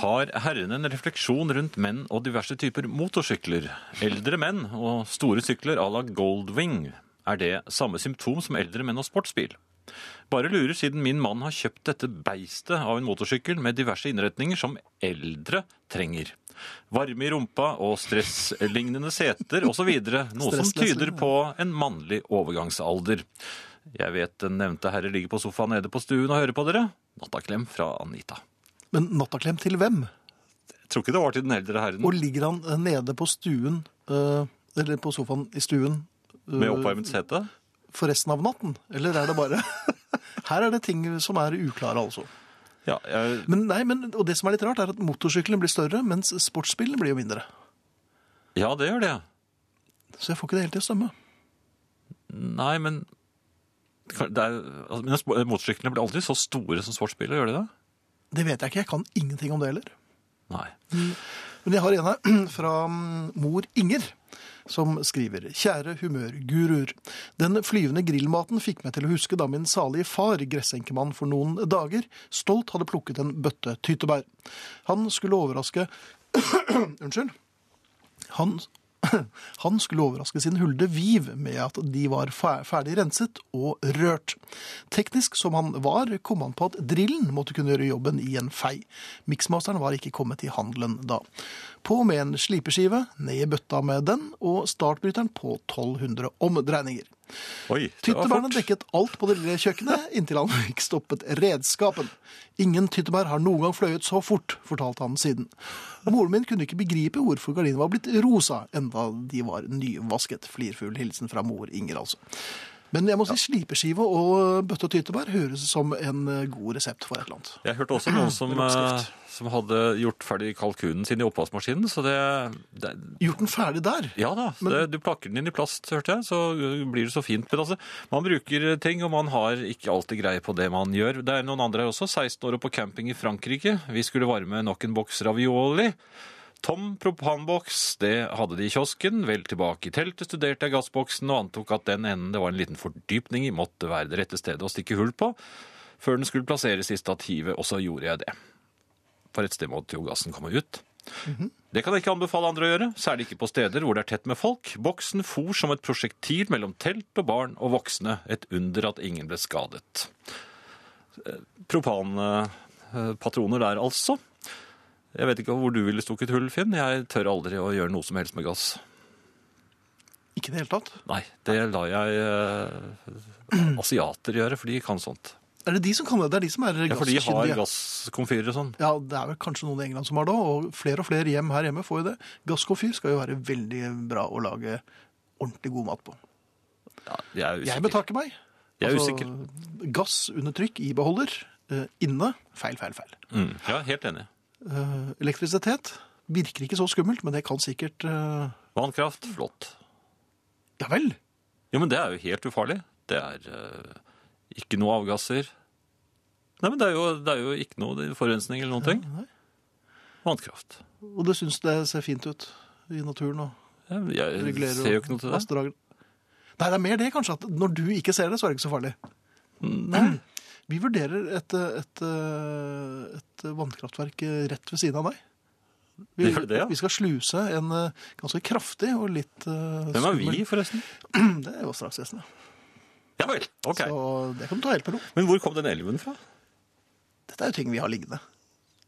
[SPEAKER 2] Har herren en refleksjon rundt menn og diverse typer motorsykler? Eldre menn og store sykler à la Goldwing. Er det samme symptom som eldre menn og sportsbil? Bare lurer siden min mann har kjøpt dette beistet av en motorsykkel med diverse innretninger som eldre trenger. Varme i rumpa og stresslignende seter osv. Noe som
[SPEAKER 1] Stressless,
[SPEAKER 2] tyder
[SPEAKER 1] ja.
[SPEAKER 2] på en mannlig overgangsalder. Jeg vet den nevnte herre ligger på sofaen nede på stuen og hører på dere. Nattaklem fra Anita.
[SPEAKER 1] Men nattaklem til hvem?
[SPEAKER 2] Jeg tror ikke det var til den eldre herren
[SPEAKER 1] Og ligger han eh, nede på stuen, eh, eller på sofaen i stuen, eh,
[SPEAKER 2] med oppvarmet sete.
[SPEAKER 1] for resten av natten? Eller er det bare (laughs) Her er det ting som er uklare, altså.
[SPEAKER 2] Ja, jeg,
[SPEAKER 1] Men nei, men, og det som er litt rart, er at motorsyklene blir større, mens sportsbilene blir jo mindre.
[SPEAKER 2] ja, det gjør det.
[SPEAKER 1] Så jeg får ikke det helt til å stemme.
[SPEAKER 2] Nei, men det kan- det er, altså, men sp- Motorsyklene blir aldri så store som sportsbiler, gjør de det?
[SPEAKER 1] Det vet jeg ikke. Jeg kan ingenting om det heller.
[SPEAKER 2] Nei.
[SPEAKER 1] Men jeg har en her (clears throat) fra mm, mor Inger, som skriver Kjære humørguruer. Den flyvende grillmaten fikk meg til å huske da min salige far, gressenkemann for noen dager, stolt hadde plukket en bøtte tyttebær. Han skulle overraske (clears throat) Unnskyld. Han, (clears throat) han skulle overraske sin hulde Viv med at de var fer- ferdig renset og rørt. Teknisk som han var, kom han på at drillen måtte kunne gjøre jobben i en fei. Miksmasteren var ikke kommet i handelen da. På med en slipeskive, ned i bøtta med den, og startbryteren på 1200 omdreininger.
[SPEAKER 2] Oi, det var
[SPEAKER 1] Tyttebærene
[SPEAKER 2] fort.
[SPEAKER 1] dekket alt på det lille kjøkkenet inntil han (laughs) fikk stoppet redskapen. Ingen tyttebær har noen gang fløyet så fort, fortalte han siden. Moren min kunne ikke begripe hvorfor gardinene var blitt rosa, enda de var nyvasket. Flirfull hilsen fra mor Inger, altså. Men jeg må si slipeskive og bøtte og tyttebær høres som en god resept for et eller annet.
[SPEAKER 2] Jeg hørte også noen som,
[SPEAKER 1] Oppskrift.
[SPEAKER 2] eh, som hadde gjort ferdig kalkunen sin i oppvaskmaskinen, så det, det
[SPEAKER 1] Gjort den ferdig der?
[SPEAKER 2] Ja da, så det, du plakker den inn i plast, hørte jeg, så ø, blir det så fint. Men altså, man bruker ting, og man har ikke alltid greie på det man gjør. Det er noen andre her også, 16 år og på camping i Frankrike. Vi skulle varme nok en boks ravioli. Tom propanboks, det hadde de i kiosken. Vel tilbake i teltet studerte jeg gassboksen og antok at den enden det var en liten fordypning i, måtte være det rette stedet å stikke hull på, før den skulle plasseres i stativet, og så gjorde jeg det. For et sted måtte jo gassen komme ut. Det kan jeg ikke anbefale andre å gjøre, særlig ikke på steder hvor det er tett med folk. Boksen for som et prosjektil mellom telt og barn og voksne. Et under at ingen ble skadet. Eh, Propanpatroner der, altså. Jeg vet ikke hvor du ville stukket hull, Finn. Jeg tør aldri å gjøre noe som helst med gass.
[SPEAKER 1] Ikke i det hele tatt?
[SPEAKER 2] Nei, det lar jeg eh, asiater gjøre, for de kan sånt.
[SPEAKER 1] Er det de som kan det? Det er de som er
[SPEAKER 2] Ja, for de har
[SPEAKER 1] gasskyndige.
[SPEAKER 2] gasskomfyrer og sånn.
[SPEAKER 1] Ja, det er vel kanskje noen i England som har det, og flere og flere hjem her hjemme får jo det. Gasskomfyr skal jo være veldig bra å lage ordentlig god mat på.
[SPEAKER 2] Ja, jeg er
[SPEAKER 1] Jeg
[SPEAKER 2] usikker.
[SPEAKER 1] betakker meg.
[SPEAKER 2] Jeg er
[SPEAKER 1] Altså,
[SPEAKER 2] usikker.
[SPEAKER 1] Gass under trykk i beholder, eh, inne, feil, feil, feil.
[SPEAKER 2] Mm. Ja, helt enig.
[SPEAKER 1] Eh, Elektrisitet virker ikke så skummelt, men det kan sikkert eh,
[SPEAKER 2] Vannkraft, flott.
[SPEAKER 1] Ja vel!
[SPEAKER 2] Jo, men det er jo helt ufarlig. Det er eh, ikke noe avgasser. Nei, men det er jo, det er jo ikke noe forurensning eller noen ting.
[SPEAKER 1] Nei.
[SPEAKER 2] Vannkraft.
[SPEAKER 1] Og det syns det ser fint ut i naturen og
[SPEAKER 2] Jeg, jeg
[SPEAKER 1] regulerer
[SPEAKER 2] ser jo ikke noe til det.
[SPEAKER 1] vassdrag. Nei, det er mer det, kanskje. At når du ikke ser det, så er det ikke så farlig. (clears throat) Vi vurderer et, et, eh, et vannkraftverk eh, rett ved siden av deg. Vi,
[SPEAKER 2] Gjør det, ja?
[SPEAKER 1] vi skal sluse en eh, ganske kraftig og litt eh,
[SPEAKER 2] Hvem er
[SPEAKER 1] skummel- (clears throat)
[SPEAKER 2] vi, forresten?
[SPEAKER 1] Det er Vassdragsvesenet.
[SPEAKER 2] Ja vel, ok.
[SPEAKER 1] Så det kan du ta helt med ro.
[SPEAKER 2] Men hvor kom den elven fra?
[SPEAKER 1] Dette er jo ting vi har liggende.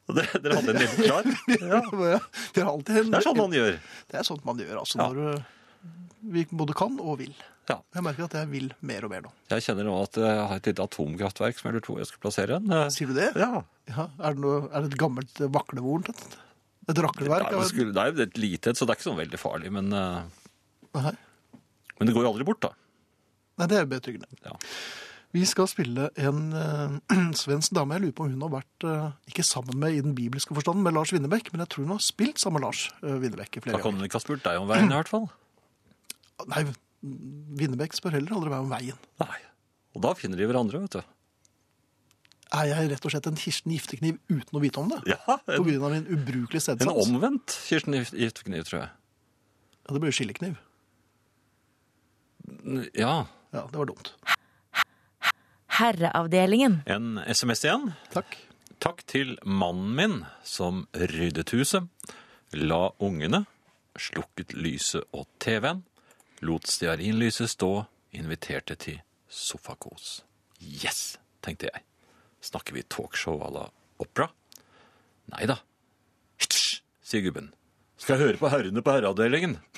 [SPEAKER 2] Dere dere hadde en elv
[SPEAKER 1] (laughs)
[SPEAKER 2] klar? (laughs) Ja.
[SPEAKER 1] Vi har alltid en,
[SPEAKER 2] Det er sånn man gjør.
[SPEAKER 1] Det er sånt man gjør, altså.
[SPEAKER 2] Ja.
[SPEAKER 1] Når eh, vi både kan og vil.
[SPEAKER 2] Ja.
[SPEAKER 1] Jeg merker at jeg vil mer og mer nå.
[SPEAKER 2] Jeg kjenner nå at jeg har et lite atomkraftverk som jeg lurer på hvor jeg skal plassere en. Eh,
[SPEAKER 1] Sier du det?
[SPEAKER 2] Ja.
[SPEAKER 1] Ja, er, det noe, er det et gammelt eh, vaklevorn? Et
[SPEAKER 2] Nei,
[SPEAKER 1] rakleverk?
[SPEAKER 2] men
[SPEAKER 1] av-
[SPEAKER 2] skulle, det er jo et lite et, så det er ikke sånn veldig farlig. Men, eh,
[SPEAKER 1] Nei,
[SPEAKER 2] men det går jo aldri bort, da.
[SPEAKER 1] Nei, det er betryggende.
[SPEAKER 2] Ja.
[SPEAKER 1] Vi skal spille en eh, (clears throat) svensk dame. Jeg lurer på om hun har vært eh, ikke sammen med i den bibelske forstanden med Lars Winnebekk, men jeg tror hun har spilt sammen med Lars uh, Winnebekk i
[SPEAKER 2] Da
[SPEAKER 1] flere
[SPEAKER 2] kan
[SPEAKER 1] år.
[SPEAKER 2] hun ikke ha spurt deg om veien, i hvert fall.
[SPEAKER 1] Nei, Winnebekk spør heller aldri meg om veien.
[SPEAKER 2] Nei. Og da finner de hverandre, vet du.
[SPEAKER 1] Er jeg rett og slett en Kirsten Giftekniv uten å vite om det?
[SPEAKER 2] Ja,
[SPEAKER 1] På
[SPEAKER 2] En,
[SPEAKER 1] grunn av min ubrukelige
[SPEAKER 2] en
[SPEAKER 1] stedsans?
[SPEAKER 2] omvendt Kirsten Gift- Giftekniv, tror jeg.
[SPEAKER 1] Ja, det ble jo skillekniv.
[SPEAKER 2] N- Ja.
[SPEAKER 1] Ja, det var dumt.
[SPEAKER 3] Herreavdelingen.
[SPEAKER 2] En SMS igjen.
[SPEAKER 1] Takk.
[SPEAKER 2] Takk til mannen min som ryddet huset, la ungene, slukket lyset og TV-en, lot stearinlyset stå, inviterte til sofakos. Yes, tenkte jeg. Snakker vi talkshow à la opera? Nei da. Hysj, sier gubben. Skal jeg høre på herrene på herreavdelingen. (laughs)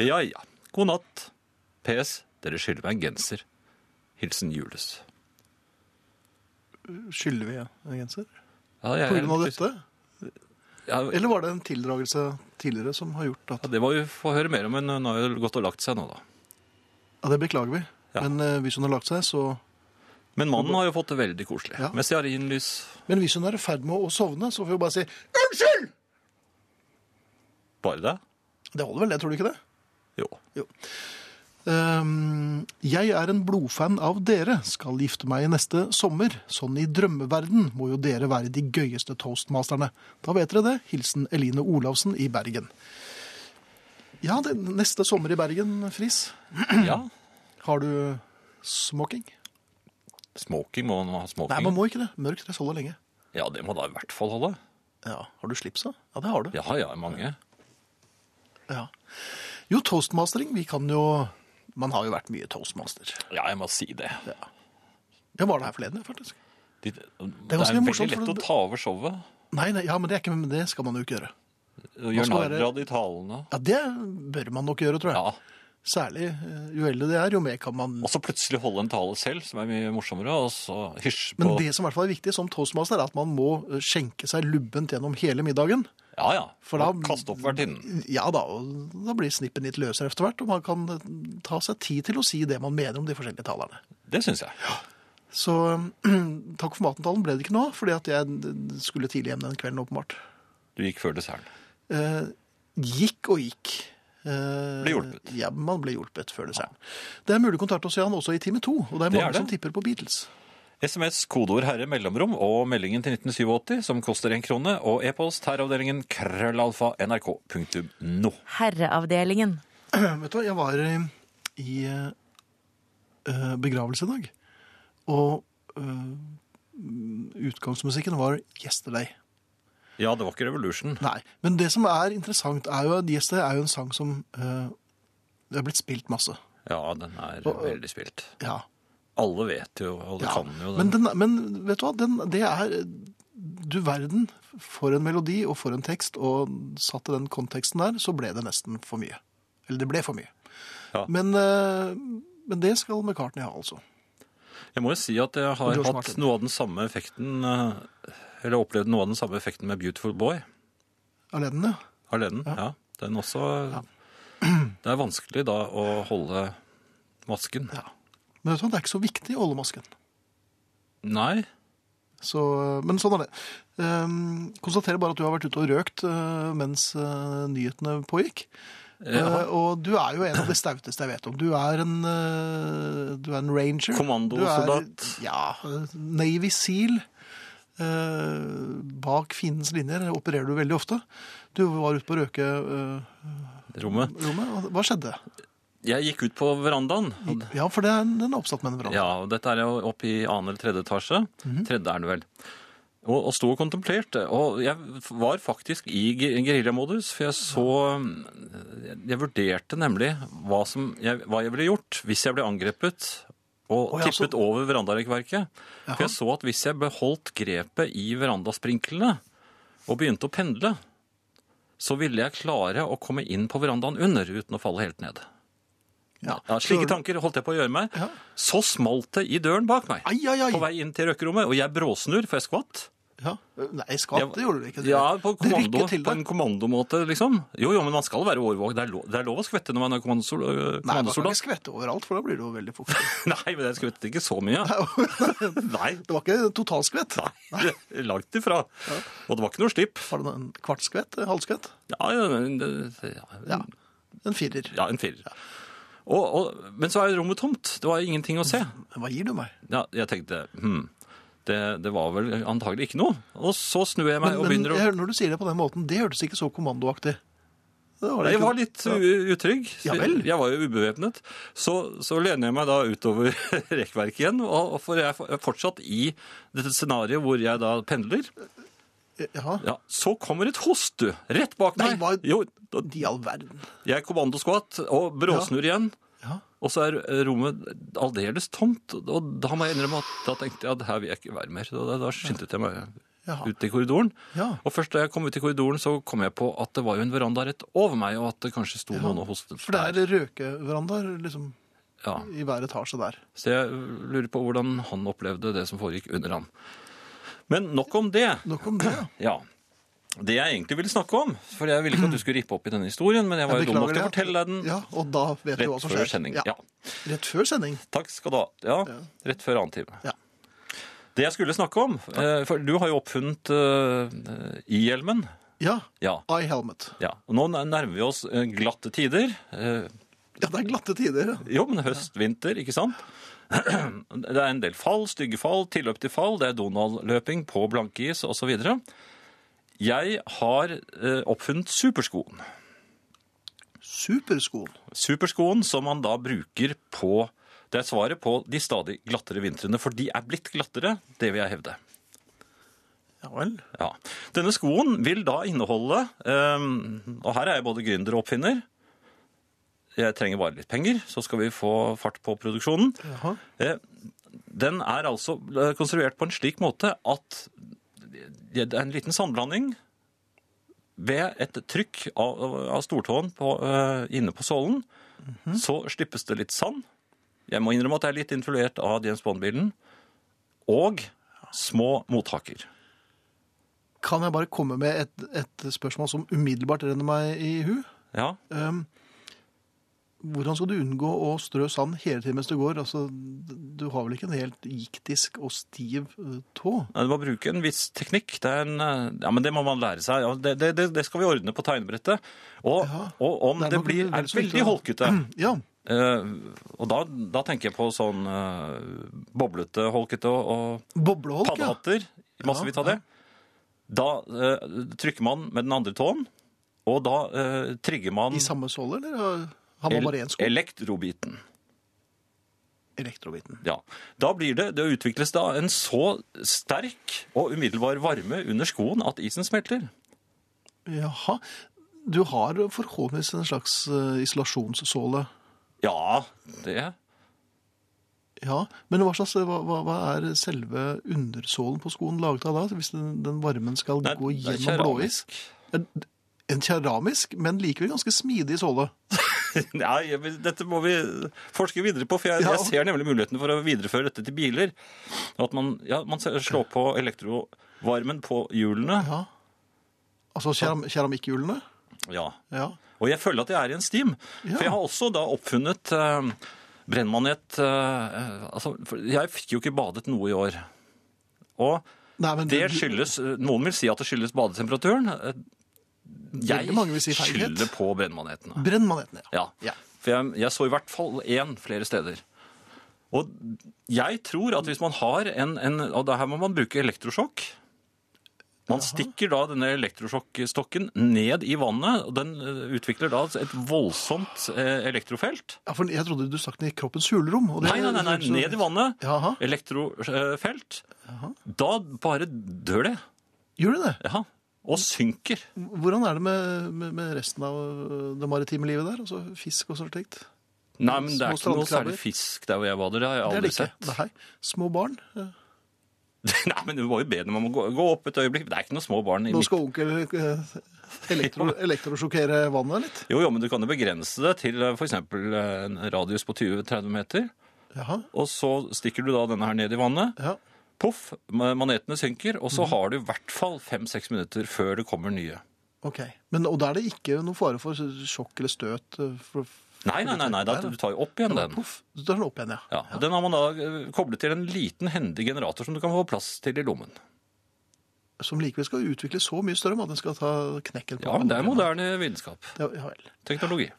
[SPEAKER 2] Ja ja. God natt. PS. Dere skylder meg en genser. Hilsen Jules.
[SPEAKER 1] Skylder vi en genser?
[SPEAKER 2] Ja, jeg-
[SPEAKER 1] På grunn av dette?
[SPEAKER 2] Ja,
[SPEAKER 1] Eller var det en tildragelse tidligere som har gjort at
[SPEAKER 2] Ja, Det må vi få høre mer om, men hun har jo gått og lagt seg nå, da.
[SPEAKER 1] Ja, det beklager vi.
[SPEAKER 2] Ja.
[SPEAKER 1] Men eh, hvis hun har lagt seg, så
[SPEAKER 2] Men mannen har jo fått det veldig koselig.
[SPEAKER 1] Ja.
[SPEAKER 2] Med stearinlys.
[SPEAKER 1] Men hvis hun er i ferd med å sovne, så får vi bare si
[SPEAKER 2] Bare det?
[SPEAKER 1] Det holder vel, det, tror du ikke det? (clears throat)
[SPEAKER 2] Jo.
[SPEAKER 1] Ehm, jeg er en blodfan av dere, skal gifte meg i neste sommer. Sånn i drømmeverden må jo dere være de gøyeste toastmasterne. Da vet dere det. Hilsen Eline Olavsen i Bergen. Ja, det, neste sommer i Bergen, Friis.
[SPEAKER 2] Ja.
[SPEAKER 1] Har du smoking?
[SPEAKER 2] Smoking må man ha. smoking.
[SPEAKER 1] Nei, man må ikke det. Mørkt dress holder lenge.
[SPEAKER 2] Ja, det må da i hvert fall holde.
[SPEAKER 1] Ja, Har du slips, da? Ja, det har du.
[SPEAKER 2] Ja, ja, mange.
[SPEAKER 1] Ja. Jo, toastmastering, vi kan jo Man har jo vært mye toastmaster.
[SPEAKER 2] Ja, jeg må si det.
[SPEAKER 1] Jeg var det her forleden, faktisk.
[SPEAKER 2] De, det,
[SPEAKER 1] ganske
[SPEAKER 2] er veldig
[SPEAKER 1] morsomt, for
[SPEAKER 2] lett å
[SPEAKER 1] det-
[SPEAKER 2] ta over showet.
[SPEAKER 1] Nei, nei, ja, men det, er ikke, men det skal man jo ikke gjøre.
[SPEAKER 2] Gjøre
[SPEAKER 1] skal
[SPEAKER 2] narr
[SPEAKER 1] være-
[SPEAKER 2] av de talene.
[SPEAKER 1] Ja, Det bør man nok gjøre, tror jeg.
[SPEAKER 2] Ja.
[SPEAKER 1] Særlig eh, jo eldre det er, jo mer kan man
[SPEAKER 2] Og så plutselig holde en tale selv, som er mye morsommere, og så hysj på
[SPEAKER 1] Men det som i hvert fall er viktig som toastmaster, er at man må eh, skjenke seg lubbent gjennom hele middagen.
[SPEAKER 2] Ja, ja.
[SPEAKER 1] For da-
[SPEAKER 2] Og Kaste opp vertinnen.
[SPEAKER 1] Ja da, og da blir snippen litt løsere etter hvert, og man kan eh, ta seg tid til å si det man mener om de forskjellige talerne.
[SPEAKER 2] Det syns jeg.
[SPEAKER 1] Så (clears throat) takk for maten-talen ble det ikke noe, fordi at jeg eh, skulle tidlig hjem den kvelden, åpenbart.
[SPEAKER 2] Du gikk før desserten.
[SPEAKER 1] Eh, gikk og gikk. Eh,
[SPEAKER 2] Ble hjulpet.
[SPEAKER 1] Ja, man ble hjulpet før desserten. Det er mulig å kontakte oss Jan, også i time to, og det er
[SPEAKER 2] Det
[SPEAKER 1] mange
[SPEAKER 2] er det.
[SPEAKER 1] som tipper på Beatles. (clears throat)
[SPEAKER 2] SMS, kodeord herre, mellomrom og meldingen til 1987 som koster en krone, og e-post herreavdelingen krøllalfa nrk.no.
[SPEAKER 3] Herreavdelingen.
[SPEAKER 1] Vet du hva, jeg var i, i eh, begravelse i dag, og eh, utgangsmusikken var Yesterday.
[SPEAKER 2] Ja, det var ikke Revolution.
[SPEAKER 1] Nei, men det som er interessant er jo at Yesterday er jo en sang som eh, det er blitt spilt masse.
[SPEAKER 2] Ja, den er
[SPEAKER 1] Og-
[SPEAKER 2] veldig spilt.
[SPEAKER 1] Ja,
[SPEAKER 2] Alle vet jo, alle
[SPEAKER 1] Ja,
[SPEAKER 2] kan jo
[SPEAKER 1] Men,
[SPEAKER 2] den.
[SPEAKER 1] den, er- men vet du hva, den, det er Du verden, for en melodi og for en tekst, og satt i den konteksten der, så ble det nesten for mye. Eller det ble for mye.
[SPEAKER 2] Ja.
[SPEAKER 1] Men, eh, men det skal McCartney ha, altså.
[SPEAKER 2] Jeg må jo si at jeg
[SPEAKER 1] Og
[SPEAKER 2] har
[SPEAKER 1] George
[SPEAKER 2] hatt
[SPEAKER 1] Martin.
[SPEAKER 2] noe av den samme effekten eh, Eller opplevd noe av den samme effekten med Beautiful Boy.
[SPEAKER 1] Alene, ja.
[SPEAKER 2] Alene. Ja. Den også (clears throat) Det er vanskelig da å holde masken.
[SPEAKER 1] Men vet du hva, det er ikke så viktig å holde masken.
[SPEAKER 2] Nei.
[SPEAKER 1] Så, men sånn er det. Um, konstaterer bare at du har vært ute og røkt eh, mens eh, nyhetene pågikk.
[SPEAKER 2] Ja.
[SPEAKER 1] Eh, og du er jo en av de stauteste jeg vet om. Du er en, eh, du er en ranger.
[SPEAKER 2] Kommandosoldat.
[SPEAKER 1] Du er- Ja. eh, Navy Seal. Eh, bak fiendens linjer opererer du veldig ofte. Du var ute på røkerommet.
[SPEAKER 2] Rommet.
[SPEAKER 1] og hva skjedde?
[SPEAKER 2] Jeg gikk ut på verandaen. og-
[SPEAKER 1] Ja, for det er, den er oppsatt med en Mhm. brann.
[SPEAKER 2] Sånn. Ja, og dette er jo oppe i annen eller tredje etasje. Tredje er det vel. Og, og sto og kontemplerte. Og jeg f- var faktisk i ge- geriljamodus, for jeg så mm, Jeg vurderte nemlig hva, som jeg, hva jeg ville gjort hvis jeg ble angrepet og
[SPEAKER 1] Å, ja, så-
[SPEAKER 2] tippet over verandarekkverket.
[SPEAKER 1] Jaha.
[SPEAKER 2] For jeg så at hvis jeg beholdt grepet i verandasprinklene og begynte å pendle, så ville jeg klare å komme inn på verandaen under uten å falle helt ned.
[SPEAKER 1] Ja.
[SPEAKER 2] Ja, slike
[SPEAKER 1] Klarer-
[SPEAKER 2] tanker holdt jeg på å gjøre meg.
[SPEAKER 1] Ja.
[SPEAKER 2] Så smalt det i døren bak meg.
[SPEAKER 1] Ai, ai, ai.
[SPEAKER 2] På vei inn til røkerommet, og jeg bråsnur, for jeg skvatt.
[SPEAKER 1] Ja. Nei, skatt,
[SPEAKER 2] Jeg-
[SPEAKER 1] det gjorde du ikke.
[SPEAKER 2] Ja, på,
[SPEAKER 1] Det rykket
[SPEAKER 2] kommando,
[SPEAKER 1] til
[SPEAKER 2] på en
[SPEAKER 1] deg.
[SPEAKER 2] kommandomåte, liksom. Jo, jo, men man skal være årvåg. Det er lov, det er lov å skvette når man er kommandosol- (laughs) øh,
[SPEAKER 1] Nei, man kan
[SPEAKER 2] kommandosoldat.
[SPEAKER 1] ikke skvette overalt, for da blir det jo veldig fuktig.
[SPEAKER 2] Nei, men jeg skvettet ikke så mye. (laughs) Nei,
[SPEAKER 1] Det var ikke totalskvett.
[SPEAKER 2] (laughs) nei, langt ifra. Og det var ikke noe slipp.
[SPEAKER 1] Var det en kvartskvett? En halvskvett?
[SPEAKER 2] Ja, ja, det-
[SPEAKER 1] Ja. En firer.
[SPEAKER 2] ja en firer. Og, og, men så er rommet tomt. Det var ingenting å se.
[SPEAKER 1] Hva gir du meg?
[SPEAKER 2] Ja, jeg tenkte, hm, det, det var vel antagelig ikke noe. Og så snur jeg meg
[SPEAKER 1] Men,
[SPEAKER 2] og
[SPEAKER 1] men
[SPEAKER 2] begynner å...
[SPEAKER 1] jeg, hører- når du sier det på den måten, det hørtes ikke så kommandoaktig. Det var det
[SPEAKER 2] Jeg
[SPEAKER 1] ikke.
[SPEAKER 2] var litt u- utrygg.
[SPEAKER 1] Ja vel.
[SPEAKER 2] Jeg var jo ubevæpnet. Så, så lener jeg meg da utover (laughs) rekkverket igjen, og og for jeg er for- fortsatt i dette scenarioet hvor jeg da pendler.
[SPEAKER 1] Ja.
[SPEAKER 2] Ja, så kommer et host, du, rett bak
[SPEAKER 1] Nei,
[SPEAKER 2] meg.
[SPEAKER 1] hva-
[SPEAKER 2] Jo, da-
[SPEAKER 1] De all verden.
[SPEAKER 2] jeg kommandoskvatt og bråsnur igjen.
[SPEAKER 1] Ja.
[SPEAKER 2] Og så er eh, rommet aldeles tomt, og da må jeg innrømme at da tenkte jeg at her vil jeg ikke være mer. Da, da- da skyndte jeg meg
[SPEAKER 1] Jaha.
[SPEAKER 2] ut i korridoren.
[SPEAKER 1] Ja.
[SPEAKER 2] Og først da jeg kom ut i korridoren, så kom jeg på at det var jo en veranda rett over meg, og at det kanskje sto noen og hostet
[SPEAKER 1] For det er røkeverandaer liksom,
[SPEAKER 2] Ja.
[SPEAKER 1] i hver etasje der.
[SPEAKER 2] Så jeg lurer på hvordan han opplevde det som foregikk under ham. Men nok om det.
[SPEAKER 1] Nok om det. ja.
[SPEAKER 2] Ja. Det jeg egentlig ville snakke om, for jeg ville ikke at du skulle rippe opp i denne historien, men jeg var jo dum nok til
[SPEAKER 1] det.
[SPEAKER 2] å fortelle deg den
[SPEAKER 1] Ja, og da vet du hva
[SPEAKER 2] rett
[SPEAKER 1] som skjer.
[SPEAKER 2] før sending.
[SPEAKER 1] Ja.
[SPEAKER 2] Ja.
[SPEAKER 1] Rett før sending.
[SPEAKER 2] Takk skal du ha. Ja, rett før annen time.
[SPEAKER 1] Ja.
[SPEAKER 2] Det jeg skulle snakke om, eh, for du har jo oppfunnet eh, i-hjelmen.
[SPEAKER 1] Ja.
[SPEAKER 2] Ja.
[SPEAKER 1] I helmet.
[SPEAKER 2] ja. Og nå nærmer vi oss eh, glatte tider. Eh,
[SPEAKER 1] Ja, det er glatte tider. ja.
[SPEAKER 2] Jo, men høst, vinter, ikke sant? (clears throat) Det er en del fall, stygge fall, tilløp til fall, det er Donald-løping på blankis osv. Jeg har eh, oppfunnet superskoen.
[SPEAKER 1] Superskoen.
[SPEAKER 2] Superskoen som man da bruker på Det er svaret på de stadig glattere vintrene, for de er blitt glattere, det vil jeg hevde.
[SPEAKER 1] Ja vel.
[SPEAKER 2] Ja. Denne skoen vil da inneholde eh, Og her er jeg både gründer og oppfinner. Jeg trenger bare litt penger, så skal vi få fart på produksjonen.
[SPEAKER 1] Jaha.
[SPEAKER 2] Eh, Den er altså eh, konstruert på en slik måte at det er en liten sandblanding ved et trykk av, av stortåen på, eh, inne på sålen.
[SPEAKER 1] Mhm.
[SPEAKER 2] Så slippes det litt sand. Jeg må innrømme at jeg er litt influert av James Bond-bilen. Og små mottaker.
[SPEAKER 1] Kan jeg bare komme med et, et spørsmål som umiddelbart renner meg i hu?
[SPEAKER 2] Ja,
[SPEAKER 1] Um, hvordan skal du unngå å strø sand hele tiden mens du går? Altså, du har vel ikke en helt giktisk og stiv eh, tå?
[SPEAKER 2] Nei, Du må bruke en viss teknikk. Det er en, eh, ja, men det må man lære seg. Ja, det, det, det- det skal vi ordne på tegnebrettet. Og, og om
[SPEAKER 1] Det er
[SPEAKER 2] det,
[SPEAKER 1] nok
[SPEAKER 2] blir
[SPEAKER 1] vel
[SPEAKER 2] er
[SPEAKER 1] så viktig
[SPEAKER 2] veldig holkete
[SPEAKER 1] (clears throat) Ja,
[SPEAKER 2] Eh, og da, da tenker jeg på sånn eh, boblete, holkete og, og
[SPEAKER 1] bobleholk, ja.
[SPEAKER 2] paddehatter. Massevis av det. Da eh, trykker man med den andre tåen, og da eh, trigger man
[SPEAKER 1] I samme såle, eller har man
[SPEAKER 2] el-
[SPEAKER 1] bare én sko?
[SPEAKER 2] elektrobiten.
[SPEAKER 1] Elektrobiten.
[SPEAKER 2] Ja. Da blir det, det utvikles da en så sterk og umiddelbar varme under skoen at isen smelter.
[SPEAKER 1] Jaha. Du har forhåpentligvis en slags eh, isolasjonssåle.
[SPEAKER 2] Ja, det
[SPEAKER 1] Ja, men hva, slags, hva, hva- hva er selve undersålen på skoen laget av da? Hvis den, den varmen skal
[SPEAKER 2] Nei,
[SPEAKER 1] gå
[SPEAKER 2] det er
[SPEAKER 1] gjennom blåis?
[SPEAKER 2] keramisk.
[SPEAKER 1] En- En keramisk, men likevel ganske smidig såle.
[SPEAKER 2] Nei, jeg vil- dette må vi forske videre på, for jeg,
[SPEAKER 1] Ja.
[SPEAKER 2] jeg ser nemlig muligheten for å videreføre dette til biler. Og At man, ja, man ser- slår på elektrovarmen på hjulene.
[SPEAKER 1] Ja. Altså keram keramikkhjulene?
[SPEAKER 2] Ja.
[SPEAKER 1] Ja.
[SPEAKER 2] Og jeg føler at jeg er i en stim. For jeg har også da oppfunnet eh, brennmanet eh, altså, for Jeg fikk jo ikke badet noe i år. Og
[SPEAKER 1] Nei, men
[SPEAKER 2] det skyldes Noen vil si at det skyldes badetemperaturen. Eh, Jeg
[SPEAKER 1] Veldig mange vil si feilhet.
[SPEAKER 2] skylder på brennmanetene.
[SPEAKER 1] Brennmanetene, ja.
[SPEAKER 2] Ja.
[SPEAKER 1] Ja.
[SPEAKER 2] For jeg, jeg så i hvert fall én flere steder. Og jeg tror at hvis man har en, en Og det her må man bruke elektrosjokk. Man stikker da denne elektrosjokkstokken ned i vannet, og den eh, utvikler da et voldsomt eh, elektrofelt.
[SPEAKER 1] ja. For jeg trodde du snakket i kroppens hulrom. og det-
[SPEAKER 2] Nei, nei, nei, nei, ned i vannet.
[SPEAKER 1] Jaha.
[SPEAKER 2] Elektrofelt. Da bare dør det.
[SPEAKER 1] Gjør du det?
[SPEAKER 2] Ja. Og synker.
[SPEAKER 1] Hvordan er det med, med, med resten av øh, det maritime livet der? Altså fisk og sånt slikt?
[SPEAKER 2] Nei, men det
[SPEAKER 1] Små
[SPEAKER 2] er ikke noe
[SPEAKER 1] strandkrabber.
[SPEAKER 2] særlig fisk der hvor jeg bader. Det har jeg
[SPEAKER 1] Det er
[SPEAKER 2] aldri
[SPEAKER 1] det ikke.
[SPEAKER 2] sett.
[SPEAKER 1] Nei. Små barn. eh,
[SPEAKER 2] (laughs) Nei, men du må jo be dem om å gå, gå opp et øyeblikk. Det er ikke noen små barn i
[SPEAKER 1] Nå
[SPEAKER 2] mitt
[SPEAKER 1] skal onkel eh, elektro, elektrosjokkere vannet litt.
[SPEAKER 2] Jo, jo, men du kan jo begrense det til eh, f.eks. en radius på 20-30 meter.
[SPEAKER 1] Jaha.
[SPEAKER 2] Og så stikker du da denne her ned i vannet.
[SPEAKER 1] Ja.
[SPEAKER 2] Poff, ma- manetene synker, og
[SPEAKER 1] Mhm.
[SPEAKER 2] så har du i hvert fall fem-seks minutter før det kommer nye.
[SPEAKER 1] Ok. Men, og da er det ikke noen fare for sjokk eller støt? eh, For,
[SPEAKER 2] Nei, nei, nei, nei da, du tar jo opp igjen den.
[SPEAKER 1] Poff, så tar den opp igjen, ja.
[SPEAKER 2] Ja, og Den har man da eh, koblet til en liten, hendig generator som du kan få plass til i lommen.
[SPEAKER 1] Som likevel skal utvikle så mye strøm at den skal ta knekken på
[SPEAKER 2] Ja, men Det er
[SPEAKER 1] andre.
[SPEAKER 2] moderne vitenskap.
[SPEAKER 1] Det- Ja, vel.
[SPEAKER 2] Teknologi.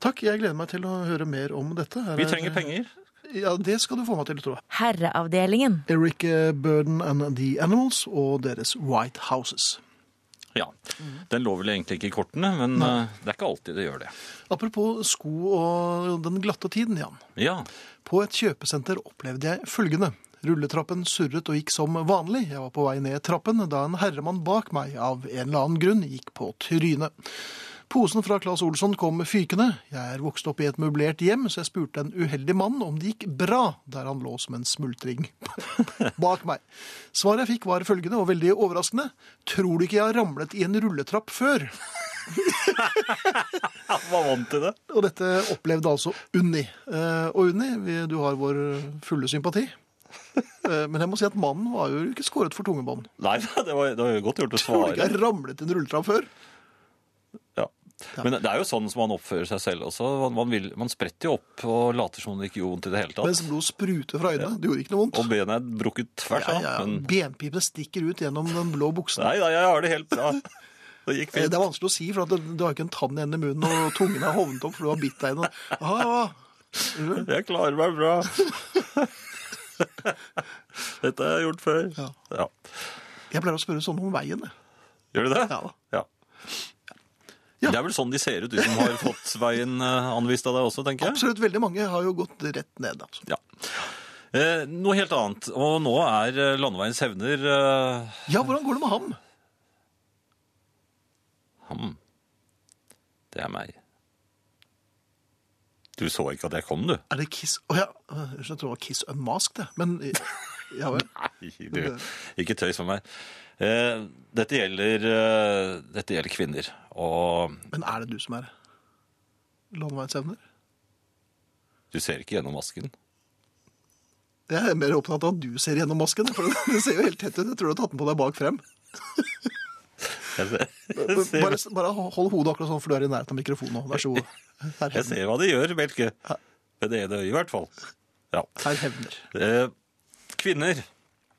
[SPEAKER 1] Takk, jeg gleder meg til å høre mer om dette. Her
[SPEAKER 2] Vi
[SPEAKER 1] er-
[SPEAKER 2] trenger penger.
[SPEAKER 1] Ja, det skal du få meg til, tror jeg.
[SPEAKER 3] Herreavdelingen.
[SPEAKER 1] Eric eh, Burden and The Animals og deres White Houses.
[SPEAKER 2] Ja.
[SPEAKER 1] Mhm.
[SPEAKER 2] Den lå vel egentlig ikke i kortene, men eh, det er ikke alltid det gjør det.
[SPEAKER 1] Apropos sko og den glatte tiden, Jan.
[SPEAKER 2] Ja,
[SPEAKER 1] På et kjøpesenter opplevde jeg følgende. Rulletrappen surret og gikk som vanlig. Jeg var på vei ned trappen da en herremann bak meg av en eller annen grunn gikk på trynet. Posen fra Claes Olsson kom fykende. Jeg er vokst opp i et møblert hjem, så jeg spurte en uheldig mann om det gikk bra der han lå som en smultring (laughs) bak meg. Svaret jeg fikk var følgende, og veldig overraskende. Tror du ikke jeg har ramlet i en rulletrapp før?
[SPEAKER 2] Var vant til det.
[SPEAKER 1] Og dette opplevde altså Unni. Eh, og Unni, vi, du har vår fulle sympati. Eh, men jeg må si at mannen var jo ikke skåret for tungebånd.
[SPEAKER 2] Nei, det var, det var jo godt gjort å
[SPEAKER 1] Tror du ikke
[SPEAKER 2] svare.
[SPEAKER 1] jeg ramlet i en rulletrapp før?
[SPEAKER 2] Ja. Men det er jo sånn som man oppfører seg selv også. Man, man, vil, man spretter jo opp og later som det ikke gjorde vondt i det hele tatt.
[SPEAKER 1] Mens blod spruter fra øynene. Det gjorde ikke noe vondt.
[SPEAKER 2] Og benet er brukket tvers
[SPEAKER 1] Ja,
[SPEAKER 2] av.
[SPEAKER 1] ja, ja.
[SPEAKER 2] Men
[SPEAKER 1] Benpipene stikker ut gjennom den blå buksen.
[SPEAKER 2] nei, nei, jeg har det helt bra. Det gikk
[SPEAKER 1] Eh, Det
[SPEAKER 2] fint.
[SPEAKER 1] er vanskelig å si, for at du, du har ikke en tann igjen i munnen, og tungen er hovnet opp, for du har bitt deg i noe. Ah, ja.
[SPEAKER 2] Jeg klarer meg bra.
[SPEAKER 1] (laughs)
[SPEAKER 2] Dette har jeg gjort før.
[SPEAKER 1] Ja.
[SPEAKER 2] Ja.
[SPEAKER 1] Jeg pleier å spørre sånn om veien. jeg.
[SPEAKER 2] Gjør du det?
[SPEAKER 1] Ja da.
[SPEAKER 2] Ja.
[SPEAKER 1] Ja.
[SPEAKER 2] Det er vel sånn de ser ut, de som har fått veien eh, anvist av deg også, tenker jeg.
[SPEAKER 1] Absolutt veldig mange har jo gått rett ned. Altså.
[SPEAKER 2] Ja. Eh, noe helt annet. Og nå er eh, landeveiens hevner eh,
[SPEAKER 1] Ja, hvordan går det med ham?
[SPEAKER 2] Ham. hmm. Det er meg. Du så ikke at jeg kom, du?
[SPEAKER 1] Er det Kiss Å ja, jeg trodde det var Kiss Unmasked, jeg. men ja vel.
[SPEAKER 2] (laughs) Nei, du. Ikke tøys med meg. Eh, dette, gjelder, eh, dette gjelder kvinner. Og
[SPEAKER 1] Men er det du som er landeveisevner?
[SPEAKER 2] du ser ikke gjennom masken. (laughs)
[SPEAKER 1] Jeg er mer opptatt av at du ser gjennom masken, for den ser jo helt tett ut. Jeg tror du har tatt den på deg bak
[SPEAKER 2] (laughs)
[SPEAKER 1] frem.
[SPEAKER 2] Jeg ser, jeg
[SPEAKER 1] Bare,
[SPEAKER 2] ser,
[SPEAKER 1] bare hold hodet akkurat sånn, for du er i nærheten av mikrofonen nå. Vær så god. Herr
[SPEAKER 2] jeg
[SPEAKER 1] Hevner.
[SPEAKER 2] ser hva de gjør, Belke. Med det ene øyet, i hvert fall. Ja.
[SPEAKER 1] Herr Hevner.
[SPEAKER 2] Eh, kvinner.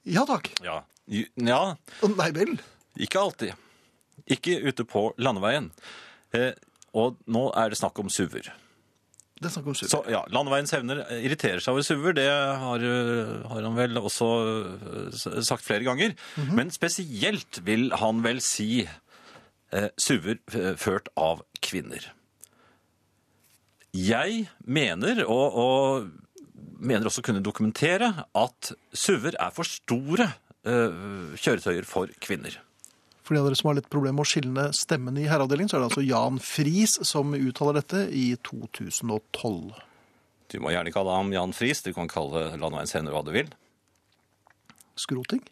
[SPEAKER 1] Ja takk.
[SPEAKER 2] Ja. Ju- ja.
[SPEAKER 1] Å, Nei vel.
[SPEAKER 2] Ikke alltid. Ikke ute på landeveien. Eh, og nå er det snakk om suver.
[SPEAKER 1] Det er snakk om super.
[SPEAKER 2] Så, ja, Landeveiens hevner irriterer seg over suver, det har, øh, har han vel også øh, s- sagt flere ganger. Men spesielt vil han vel si eh, suver eh, ført av kvinner. Jeg mener, og, og mener også kunne dokumentere, at suver er for store eh, kjøretøyer for kvinner.
[SPEAKER 1] For de av dere som har litt problemer med å skille stemmen i herreavdelingen, så er det altså Jan Friis som uttaler dette i 2012.
[SPEAKER 2] Du må gjerne kalle ham Jan Friis, du kan kalle Landeveiens hevner hva du vil.
[SPEAKER 1] Skroting?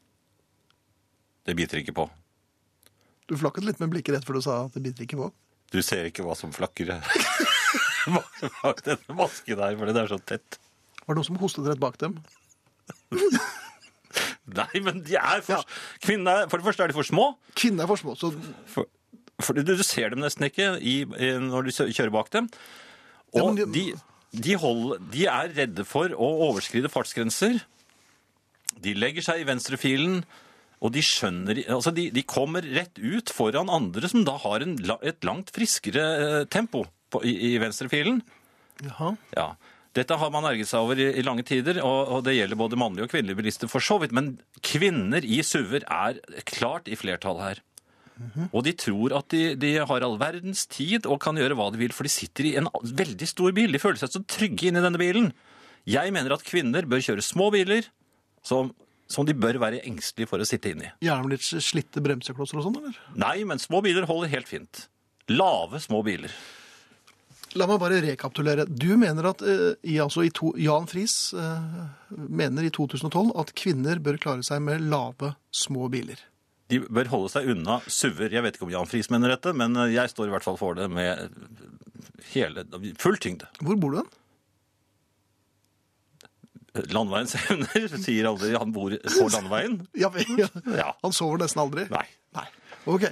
[SPEAKER 2] Det biter ikke på.
[SPEAKER 1] Du flakket litt med blikket rett før du sa at det biter ikke på.
[SPEAKER 2] Du ser ikke (laughs) hva som flakker bak, bak denne masken her, fordi det er så tett.
[SPEAKER 1] Var det noen som hostet rett bak dem?
[SPEAKER 2] Nei, men de er for, kvinner, for det første er de for små.
[SPEAKER 1] Kvinner er for små, så
[SPEAKER 2] For, for du, du ser dem nesten ikke i, i, når du kjø- kjører bak dem.
[SPEAKER 1] Ja,
[SPEAKER 2] Og
[SPEAKER 1] men
[SPEAKER 2] de,
[SPEAKER 1] de-
[SPEAKER 2] de, hold, de er redde for å overskride fartsgrenser. De legger seg i venstrefilen, og de skjønner Altså, de, de kommer rett ut foran andre som da har en, la- et langt friskere eh, tempo på, i, i venstrefilen.
[SPEAKER 1] Jaha.
[SPEAKER 2] Ja. Dette har man erget seg over i, i lange tider, og, og det gjelder både mannlige og kvinnelige bilister for så vidt, men kvinner i SUV-er er klart i flertall her. Og de tror at de, de har all verdens tid og kan gjøre hva de vil, for de sitter i en a- veldig stor bil. De føler seg så trygge inni denne bilen. Jeg mener at kvinner bør kjøre små biler som, som de bør være engstelige for å sitte inni.
[SPEAKER 1] Gjerne med litt slitte bremseklosser og sånn, eller?
[SPEAKER 2] Nei, men små biler holder helt fint. Lave små biler.
[SPEAKER 1] La meg bare rekapitulere. Du mener at eh, i, altså i to, Jan Friis eh, mener i 2012 at kvinner bør klare seg med lave, små biler.
[SPEAKER 2] De bør holde seg unna suver. Jeg vet ikke om Jan Friis mener dette, men eh, jeg står i hvert fall for det med eh, hele, full tyngde.
[SPEAKER 1] Hvor bor du hen?
[SPEAKER 2] Landveiens (laughs) evner sier aldri han bor på landeveien.
[SPEAKER 1] Ja, vel, (laughs) ja.
[SPEAKER 2] Ja.
[SPEAKER 1] Han sover nesten aldri.
[SPEAKER 2] Nei.
[SPEAKER 1] Ok.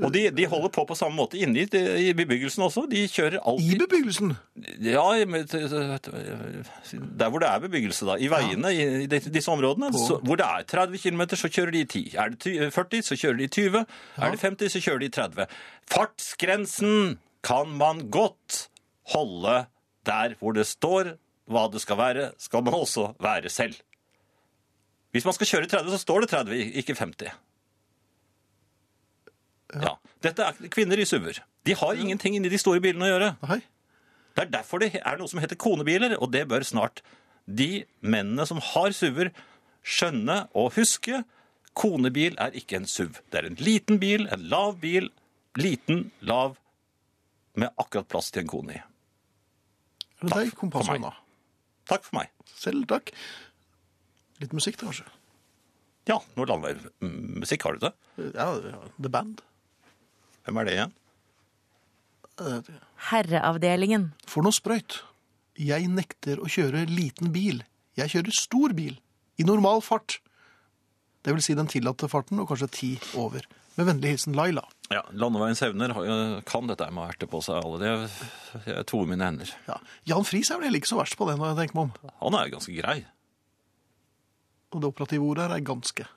[SPEAKER 2] Og de, de holder på på samme måte inne i, i bebyggelsen også. De kjører
[SPEAKER 1] I
[SPEAKER 2] alltid
[SPEAKER 1] bebyggelsen.
[SPEAKER 2] Ja, men t- t- t- Der hvor det er bebyggelse, da. I veiene i i de- disse områdene. Så, hvor det er 30 km, så kjører de i 10. Er det ty- 40, så kjører de i 20. Er det 50, så kjører de i 30. Fartsgrensen kan man godt holde der hvor det står hva det skal være, skal man også være selv. Hvis man skal kjøre i 30, så står det 30, ikke 50. Ja. Dette er kvinner i SUV-er. De har ingenting inni de store bilene å gjøre.
[SPEAKER 1] Nei.
[SPEAKER 2] Det er derfor det er noe som heter konebiler, og det bør snart de mennene som har SUV-er, skjønne og huske. Konebil er ikke en SUV. Det er en liten bil, en lav bil. Liten, lav, med akkurat plass til en kone i.
[SPEAKER 1] Er det deg? Kompass
[SPEAKER 2] for meg.
[SPEAKER 1] hånda.
[SPEAKER 2] Takk for meg.
[SPEAKER 1] Selv takk. Litt musikk, da, kanskje.
[SPEAKER 2] Ja, nå lander vi musikk. Har du det?
[SPEAKER 1] Ja, ja, The Band.
[SPEAKER 2] Hvem er det igjen?
[SPEAKER 1] Eh,
[SPEAKER 3] Herreavdelingen.
[SPEAKER 1] For noe sprøyt. Jeg nekter å kjøre liten bil. Jeg kjører stor bil. I normal fart. Det vil si den tillatte farten, og kanskje ti over. Med vennlig hilsen Laila.
[SPEAKER 2] Ja, Landeveiens hevner har jo- kan dette her med å erte på seg alle. Det, jeg toer mine hender.
[SPEAKER 1] Ja. Jan Friis er vel heller ikke så verst på det, når jeg tenker meg om.
[SPEAKER 2] Han er jo ganske grei.
[SPEAKER 1] Og det operative ordet her er ganske.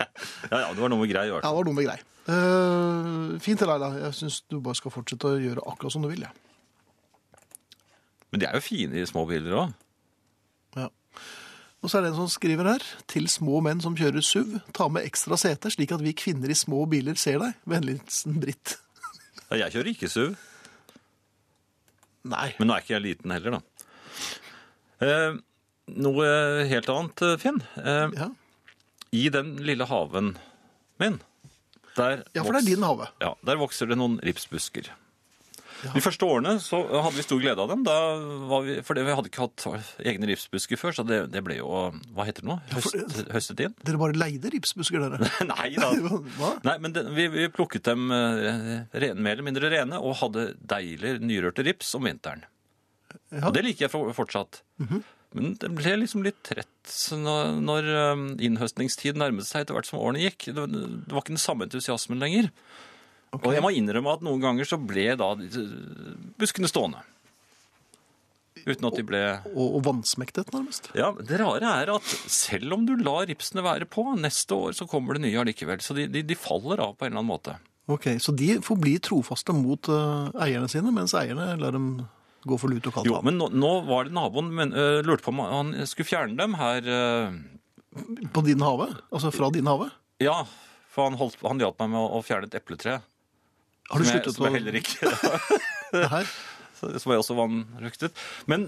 [SPEAKER 2] Ja, ja, det var noe med grei å
[SPEAKER 1] Ja, det var dumme grei. Eh, fint til Laila. Jeg syns du bare skal fortsette å gjøre akkurat som du vil. Ja.
[SPEAKER 2] Men de er jo fine i små biler òg.
[SPEAKER 1] Ja. Og så er det en som skriver her. Til små menn som kjører SUV, ta med ekstra sete, slik at vi kvinner i små biler ser deg. Vennlig hilsen Britt.
[SPEAKER 2] Ja, jeg kjører ikke SUV.
[SPEAKER 1] Nei.
[SPEAKER 2] Men nå er ikke jeg liten heller, da. Eh, noe helt annet, eh, Finn. Eh,
[SPEAKER 1] Ja,
[SPEAKER 2] I den lille haven min, der,
[SPEAKER 1] ja for det er
[SPEAKER 2] voks-
[SPEAKER 1] din hage.
[SPEAKER 2] ja, der vokser det noen ripsbusker. De første årene så hadde vi stor glede av dem, da var vi, for vi hadde ikke hatt egne ripsbusker før, så det, det ble jo, hva heter det nå, Høst, høstet inn?
[SPEAKER 1] Dere bare leide ripsbusker, dere. (laughs)
[SPEAKER 2] (laughs) Nei da.
[SPEAKER 1] Hva?
[SPEAKER 2] Nei, men det, vi, vi plukket dem eh, rene, mer eller mindre rene, og hadde deilig nyrørte rips om vinteren.
[SPEAKER 1] Ja.
[SPEAKER 2] Og det liker jeg for- fortsatt. Men det ble liksom litt trett så når, når eh, innhøstningstid nærmet seg etter hvert som årene gikk. Det, var- det var ikke den samme entusiasmen lenger. Og jeg må innrømme at noen ganger så ble da eh, buskene stående. Uten at de ble
[SPEAKER 1] Og, og vansmektet, nærmest.
[SPEAKER 2] ja, Det rare er at selv om du lar ripsene være på, neste år så kommer det nye allikevel. Så de, de, de faller av på en eller annen måte.
[SPEAKER 1] Ok, Så de forblir trofaste mot eh, eierne sine, mens eierne lar dem gå for lut og kaldt
[SPEAKER 2] Jo,
[SPEAKER 1] vann.
[SPEAKER 2] men nå, nå var det naboen men, øh, lurte på om han skulle fjerne dem her. øh.
[SPEAKER 1] På din hage? Altså fra din hage?
[SPEAKER 2] ja, for han, holdt, han hjalp meg med å, å fjerne et epletre.
[SPEAKER 1] Har du
[SPEAKER 2] som jeg,
[SPEAKER 1] sluttet
[SPEAKER 2] som jeg
[SPEAKER 1] å
[SPEAKER 2] heller ikke (laughs)
[SPEAKER 1] det her?
[SPEAKER 2] Som jeg også vanrøktet. Men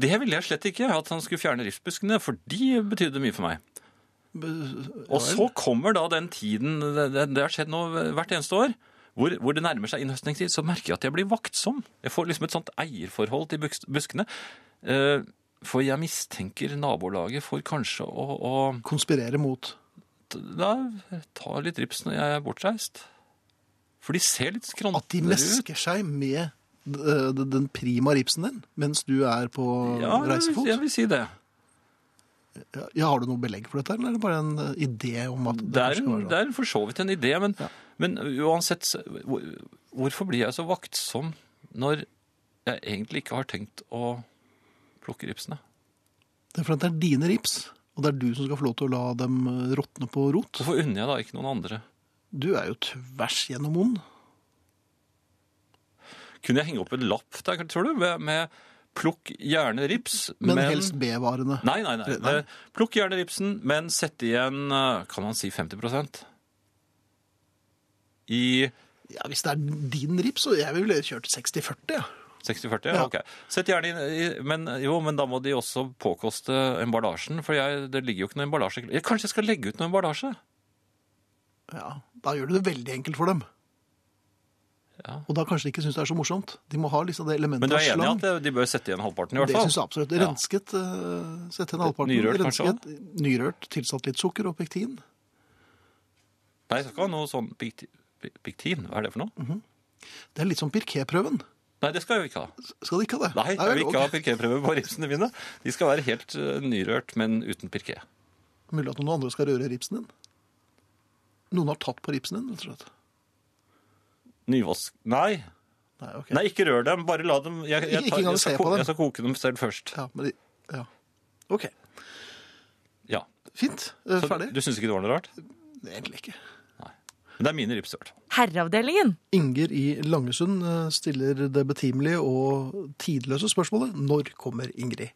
[SPEAKER 2] det ville jeg slett ikke, at han skulle fjerne ripsbuskene, for de betydde mye for meg. Og så kommer da den tiden, det, det, det har skjedd nå hvert eneste år, hvor, hvor det nærmer seg innhøstningstid, så merker jeg at jeg blir vaktsom. Jeg får liksom et sånt eierforhold til buks- buskene. Eh, For jeg mistenker nabolaget for kanskje å, å
[SPEAKER 1] Konspirere mot
[SPEAKER 2] t- da, ta litt rips når jeg er bortreist. For de ser litt skrantere
[SPEAKER 1] At de
[SPEAKER 2] ut.
[SPEAKER 1] mesker seg med eh, den den prima ripsen din mens du er på
[SPEAKER 2] Ja, jeg vil,
[SPEAKER 1] reisefot?
[SPEAKER 2] jeg vil si det.
[SPEAKER 1] Ja, ja, har du noe belegg for dette, eller er det bare en eh, idé om at
[SPEAKER 2] Det er,
[SPEAKER 1] kanskje
[SPEAKER 2] en-
[SPEAKER 1] var
[SPEAKER 2] det er for så vidt en idé, men,
[SPEAKER 1] Ja.
[SPEAKER 2] men uansett så- hvor- Hvorfor blir jeg så vaktsom når jeg egentlig ikke har tenkt å plukke ripsene?
[SPEAKER 1] Det er fordi det er dine rips, og det er du som skal få lov til å la dem eh, råtne på rot.
[SPEAKER 2] Hvorfor unner jeg da ikke noen andre?
[SPEAKER 1] Du er jo tvers gjennom ond.
[SPEAKER 2] Kunne jeg henge opp en lapp der, tror du, med, med 'plukk gjerne rips',
[SPEAKER 1] Men, helst B-varene.
[SPEAKER 2] Nei, nei, nei.
[SPEAKER 1] Nei.
[SPEAKER 2] Det- Plukk gjerne ripsen, men sett igjen, eh, kan man si 50 I
[SPEAKER 1] Ja, hvis det er din rips, så jeg ville kjørt 60-40. Ja.
[SPEAKER 2] 60-40?
[SPEAKER 1] Ja.
[SPEAKER 2] Ja. Ok. Sett gjerne inn i men, Jo, men da må de også påkoste emballasjen, for jeg, det ligger jo ikke noe emballasje Ja, Kanskje jeg skal legge ut noe emballasje?
[SPEAKER 1] Ja, da gjør du det veldig enkelt for dem.
[SPEAKER 2] Ja.
[SPEAKER 1] Og da kanskje de ikke syns det er så morsomt. De må ha liksom det
[SPEAKER 2] Men
[SPEAKER 1] elementet
[SPEAKER 2] du
[SPEAKER 1] av
[SPEAKER 2] er enig i
[SPEAKER 1] slang.
[SPEAKER 2] at det- de bør sette igjen halvparten,
[SPEAKER 1] Det
[SPEAKER 2] i hvert fall?
[SPEAKER 1] syns jeg absolutt.
[SPEAKER 2] Ja.
[SPEAKER 1] Rensket, eh, sett en halvparten.
[SPEAKER 2] Nyrørt kanskje
[SPEAKER 1] rensket, Nyrørt, tilsatt litt sukker og pektin.
[SPEAKER 2] Nei, jeg skal ikke ha noe sånn pikti- piktin. Hva er det for noe?
[SPEAKER 1] Det er litt som pirquetprøven.
[SPEAKER 2] Nei, det skal jeg jo ikke ha.
[SPEAKER 1] Skal de ikke ha det?
[SPEAKER 2] Nei, jeg
[SPEAKER 1] vel,
[SPEAKER 2] vil ikke
[SPEAKER 1] ok.
[SPEAKER 2] ha pirképrøve på ripsene mine. De skal være helt eh, nyrørt, men uten pirké.
[SPEAKER 1] Mulig at noen andre skal røre ripsen din. Noen har tatt på ripsen din, rett og slett.
[SPEAKER 2] Nyvask Nei.
[SPEAKER 1] Nei, ok.
[SPEAKER 2] Nei, ikke rør dem. Bare la dem Jeg, jeg,
[SPEAKER 1] Ikke
[SPEAKER 2] tar,
[SPEAKER 1] engang
[SPEAKER 2] jeg, skal,
[SPEAKER 1] se på
[SPEAKER 2] ko-
[SPEAKER 1] dem.
[SPEAKER 2] jeg skal koke dem selv først.
[SPEAKER 1] Ja, men de, ja. Ok,
[SPEAKER 2] Ja.
[SPEAKER 1] fint. Eh,
[SPEAKER 2] Så
[SPEAKER 1] Ferdig?
[SPEAKER 2] Du syns ikke det var noe rart?
[SPEAKER 1] Egentlig ikke.
[SPEAKER 2] Nei. Men det er mine rips. i hvert fall.
[SPEAKER 3] Herreavdelingen.
[SPEAKER 1] Inger i Langesund eh, stiller det betimelige og tidløse spørsmålet når kommer Ingrid?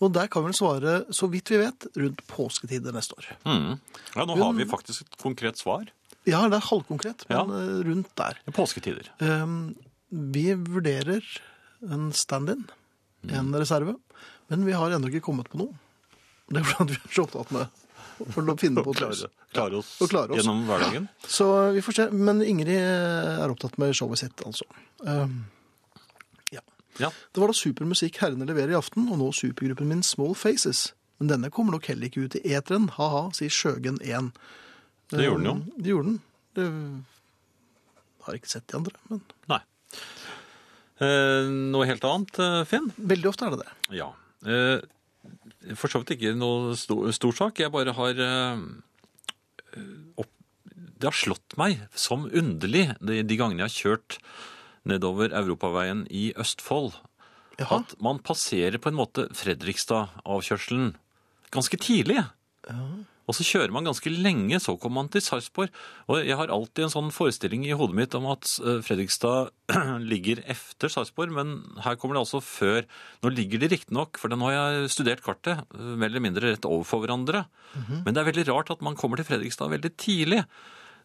[SPEAKER 1] Og der kan vi vel svare, så vidt vi vet, rundt påsketider neste år.
[SPEAKER 2] Mm. Ja, nå har vi faktisk et konkret svar.
[SPEAKER 1] Ja, det er halvkonkret, men
[SPEAKER 2] Ja.
[SPEAKER 1] eh, rundt der.
[SPEAKER 2] Påsketider.
[SPEAKER 1] Um, vi vurderer en stand-in,
[SPEAKER 2] Mm.
[SPEAKER 1] en reserve, men vi har ennå ikke kommet på noe. Det er fordi vi er så opptatt med å finne på et løs.
[SPEAKER 2] klare oss
[SPEAKER 1] Og klare oss. gjennom
[SPEAKER 2] hverdagen.
[SPEAKER 1] Så vi får se. Men Ingrid eh, er opptatt med showet sitt, altså. Um, ja.
[SPEAKER 2] Ja.
[SPEAKER 1] Det var da supermusikk herrene leverer i aften, og nå supergruppen min Small Faces. Men denne kommer nok heller ikke ut i eteren, ha-ha, sier Sjøgen 1.
[SPEAKER 2] Det gjorde den jo.
[SPEAKER 1] Um, Det gjorde den. Det har jeg ikke sett de andre, men
[SPEAKER 2] Nei. Eh, noe helt annet, eh, Finn?
[SPEAKER 1] veldig ofte er det det.
[SPEAKER 2] Ja. Eh, for så vidt ikke noe stor, stor sak. Jeg bare har eh, opp, Det har slått meg som underlig de, de gangene jeg har kjørt nedover europaveien i Østfold,
[SPEAKER 1] Jaha.
[SPEAKER 2] at man passerer på en måte Fredrikstad-avkjørselen ganske tidlig. Og så kjører man ganske lenge, så kommer man til Sarpsborg. Og jeg har alltid en sånn forestilling i hodet mitt om at eh, Fredrikstad (clears throat) ligger efter Sarpsborg, men her kommer det altså før. Nå ligger de riktignok, for nå har jeg studert kartet, eh, mer eller mindre rett overfor hverandre. Men det er veldig rart at man kommer til Fredrikstad veldig tidlig.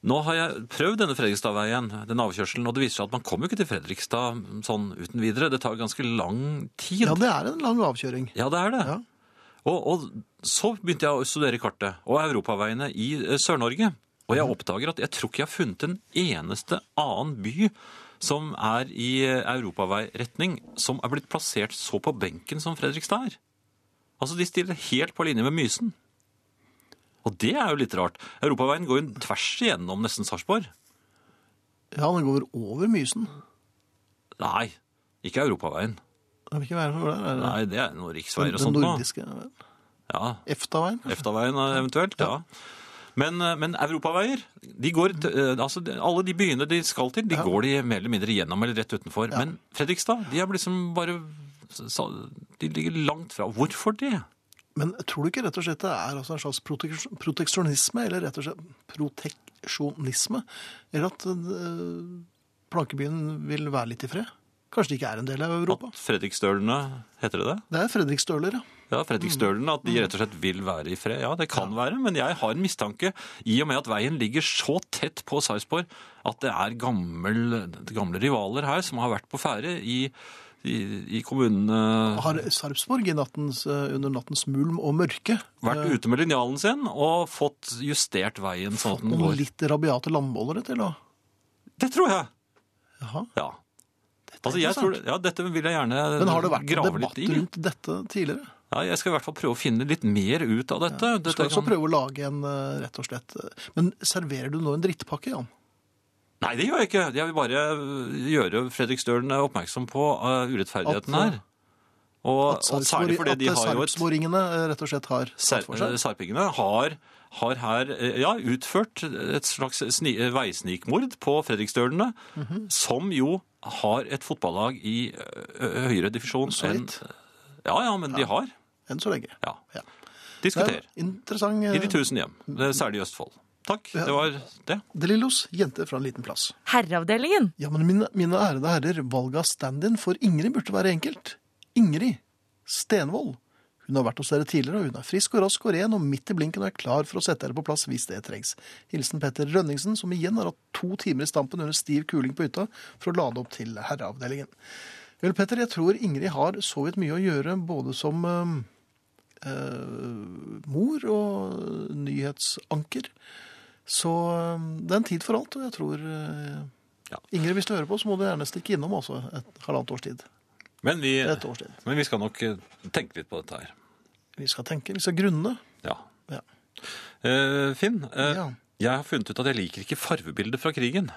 [SPEAKER 2] Nå har jeg prøvd denne Fredrikstadveien, den avkjørselen, og det viser seg at man kommer jo ikke til Fredrikstad sånn uten videre. Det tar ganske lang tid.
[SPEAKER 1] Ja, det er en lang avkjøring.
[SPEAKER 2] Ja, det er det.
[SPEAKER 1] Ja.
[SPEAKER 2] Og, og så begynte jeg å studere kartet og europaveiene i eh, Sør-Norge. Og jeg oppdager at jeg tror ikke jeg har funnet en eneste annen by som er i eh, europaveiretning, som er blitt plassert så på benken som Fredrikstad er. Altså, de stiller helt på linje med Mysen. Og det er jo litt rart. Europaveien går jo tvers igjennom nesten Sarpsborg.
[SPEAKER 1] Ja, den går over Mysen.
[SPEAKER 2] Nei, ikke europaveien.
[SPEAKER 1] Hvilken vei er det? der? Er det-
[SPEAKER 2] Nei, det er sånn noen riksveier
[SPEAKER 1] den,
[SPEAKER 2] og sånt.
[SPEAKER 1] Den
[SPEAKER 2] nå.
[SPEAKER 1] nordiske vel?
[SPEAKER 2] Ja,
[SPEAKER 1] EFTA-veien?
[SPEAKER 2] EFTA-veien eventuelt, ja. Men, eh, men europaveier, de går, t- eh, altså, de- alle de byene de skal til, de går de mer eller mindre gjennom eller rett utenfor. Men Fredrikstad, de er liksom bare sa- De ligger langt fra. Hvorfor det?
[SPEAKER 1] Men tror du ikke rett og slett det er altså en slags proteksjon- proteksjonisme, eller rett og slett proteksjonisme, eller at øh, plankebyen vil være litt i fred? Kanskje det ikke er en del av Europa?
[SPEAKER 2] At Fredrikstølene, heter det det?
[SPEAKER 1] Det er Fredrikstøler, ja.
[SPEAKER 2] Ja, Fredrikstølene, at de rett og slett vil være i fred. Mm. Ja, det kan være, men jeg har en mistanke i og med at veien ligger så tett på Sarpsborg at det er gammel, gamle rivaler her som har vært på ferde i, i, i kommunene
[SPEAKER 1] Har Sarpsborg i nattens, øh, under nattens mulm og mørke
[SPEAKER 2] Vært ute med linjalen sin og fått justert veien sånn at den
[SPEAKER 1] noen
[SPEAKER 2] går.
[SPEAKER 1] litt rabiate landmålere til å
[SPEAKER 2] Det tror jeg!
[SPEAKER 1] Jaha.
[SPEAKER 2] Ja. Altså, jeg tror, ja, dette vil jeg gjerne
[SPEAKER 1] Men har det vært en
[SPEAKER 2] grave
[SPEAKER 1] debatt
[SPEAKER 2] litt i.
[SPEAKER 1] rundt dette tidligere?
[SPEAKER 2] Ja, jeg skal i hvert fall prøve å finne litt mer ut av dette.
[SPEAKER 1] Du
[SPEAKER 2] dette
[SPEAKER 1] skal også
[SPEAKER 2] kan-
[SPEAKER 1] prøve å lage en, eh, rett og slett. eh, Men serverer du nå en drittpakke, Jan?
[SPEAKER 2] Nei, det gjør jeg ikke. Jeg vil bare øh, gjøre Fredrik Stølen oppmerksom på eh, urettferdigheten
[SPEAKER 1] At-
[SPEAKER 2] her. Og, og særlig
[SPEAKER 1] Sarpsborg-
[SPEAKER 2] fordi de
[SPEAKER 1] at
[SPEAKER 2] har jo et
[SPEAKER 1] Sarpsborgingene eh, rett og slett har
[SPEAKER 2] Ser-
[SPEAKER 1] satt for seg.
[SPEAKER 2] eh, Sarpingene har, har her eh, ja, utført et slags sni, eh, veisnikmord på Fredrikstølene,
[SPEAKER 1] Mhm.
[SPEAKER 2] som jo har et fotballag i ø, ø, høyere divisjon
[SPEAKER 1] Så
[SPEAKER 2] enn
[SPEAKER 1] vidt.
[SPEAKER 2] Ja, ja, men de har.
[SPEAKER 1] Enn så lenge.
[SPEAKER 2] Ja.
[SPEAKER 1] Ja. Det
[SPEAKER 2] Diskuter.
[SPEAKER 1] er interessant. eh,
[SPEAKER 2] eh, I de tusen hjem, eh, særlig i Østfold. Takk,
[SPEAKER 1] Ja.
[SPEAKER 2] det var det.
[SPEAKER 1] Delillos, jente fra en liten plass.
[SPEAKER 3] Herreavdelingen.
[SPEAKER 1] Ja, men mine, mine ærede herrer, valget av stand-in for Ingrid burde være enkelt. Ingrid Stenvold. Hun har vært hos dere tidligere, og hun er frisk og rask og ren, og midt i blinken og er klar for å sette dere på plass hvis det trengs. Hilsen Petter Rønningsen, som igjen har hatt to timer i stampen under stiv kuling på hytta for å lade opp til herreavdelingen. Vel, Petter, jeg tror Ingrid har så vidt mye å gjøre, både som eh, eh, mor og nyhetsanker. Så eh, det er en tid for alt, og jeg tror eh, Ingrid, hvis du hører på, så må du gjerne stikke innom altså, et halvannet års tid.
[SPEAKER 2] Men vi,
[SPEAKER 1] Et års tid.
[SPEAKER 2] men vi skal nok eh, tenke litt på dette her.
[SPEAKER 1] Vi skal tenke, vi skal grunne.
[SPEAKER 2] Ja.
[SPEAKER 1] Ja.
[SPEAKER 2] Eh, Finn, eh,
[SPEAKER 1] Ja.
[SPEAKER 2] jeg har funnet ut at jeg liker ikke fargebilder fra krigen.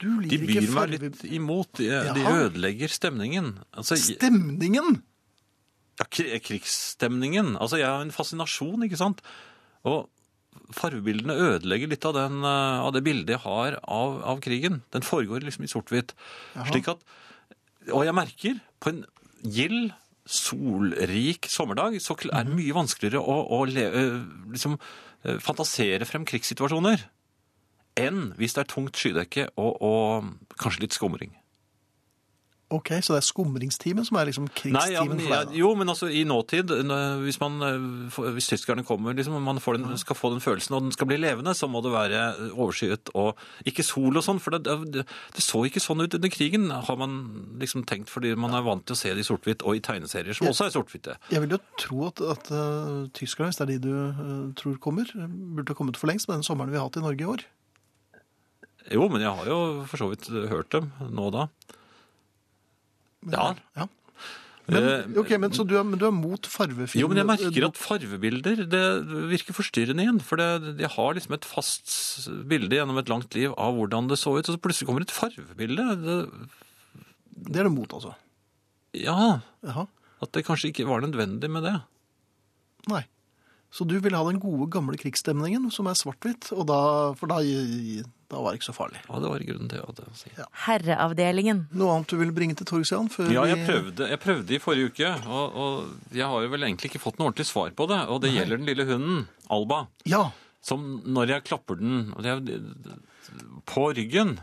[SPEAKER 1] Du
[SPEAKER 2] De
[SPEAKER 1] liker
[SPEAKER 2] byr
[SPEAKER 1] ikke
[SPEAKER 2] meg
[SPEAKER 1] farge...
[SPEAKER 2] litt imot. De, de
[SPEAKER 1] Jaha.
[SPEAKER 2] ødelegger stemningen. Altså, jeg-
[SPEAKER 1] Stemningen!
[SPEAKER 2] ja, kri- krigsstemningen. Altså, jeg har en fascinasjon, ikke sant? Og fargebildene ødelegger litt av, den, eh, av det bildet jeg har av, av krigen. Den foregår liksom i sort-hvitt. Slik at Og jeg merker, på en gild, solrik sommerdag, så kl- er det mye vanskeligere å, å le, eh, liksom, eh, fantasere frem krigssituasjoner enn hvis det er tungt skydekke og, og kanskje litt skumring.
[SPEAKER 1] Ok, så det er skumringstimen som er liksom
[SPEAKER 2] Nei, ja,
[SPEAKER 1] krigstimen
[SPEAKER 2] men, ja,
[SPEAKER 1] for deg?
[SPEAKER 2] jo, men altså i nåtid, n- hvis, man, eh, får- hvis tyskerne kommer, liksom, og man får den, skal få den følelsen, og den skal bli levende, så må det være eh, overskyet og ikke sol og sånn, for det, det, det så ikke sånn ut under krigen, har man liksom tenkt, fordi man er vant til å se det i sort-hvitt, og i tegneserier som også er
[SPEAKER 1] da.
[SPEAKER 2] sort-hvitte.
[SPEAKER 1] Jeg vil jo tro at, at eh, tyskerne, hvis det er de du eh, tror kommer, burde ha kommet for lengst med den sommeren vi har hatt i Norge i år.
[SPEAKER 2] Jo, men jeg har jo for så vidt hørt dem nå da. Ja.
[SPEAKER 1] ja. Men,
[SPEAKER 2] Eh,
[SPEAKER 1] ok, men, så du er, men du er mot farvefilm?
[SPEAKER 2] Jo, men jeg merker at farvebilder det virker forstyrrende igjen. For det, jeg har liksom et fast bilde gjennom et langt liv av hvordan det så ut, og så plutselig kommer et farvebilde. Det,
[SPEAKER 1] Det er du mot, altså?
[SPEAKER 2] ja,
[SPEAKER 1] Jaha.
[SPEAKER 2] at det kanskje ikke var nødvendig med det.
[SPEAKER 1] Nei. Så du vil ha den gode, gamle krigsstemningen, som er svart-hvitt, og da- for da, da var det ikke så farlig.
[SPEAKER 2] Ja, det var grunnen til at jeg sier.
[SPEAKER 3] Herreavdelingen.
[SPEAKER 1] Noe annet du vil bringe til torgs, Jan? Før
[SPEAKER 2] Ja, jeg
[SPEAKER 1] vi-
[SPEAKER 2] prøvde, jeg prøvde i forrige uke, og, og jeg har jo vel egentlig ikke fått noe ordentlig svar på det. Og det gjelder den lille hunden, Alba,
[SPEAKER 1] Ja.
[SPEAKER 2] som når jeg klapper den og det er- på ryggen,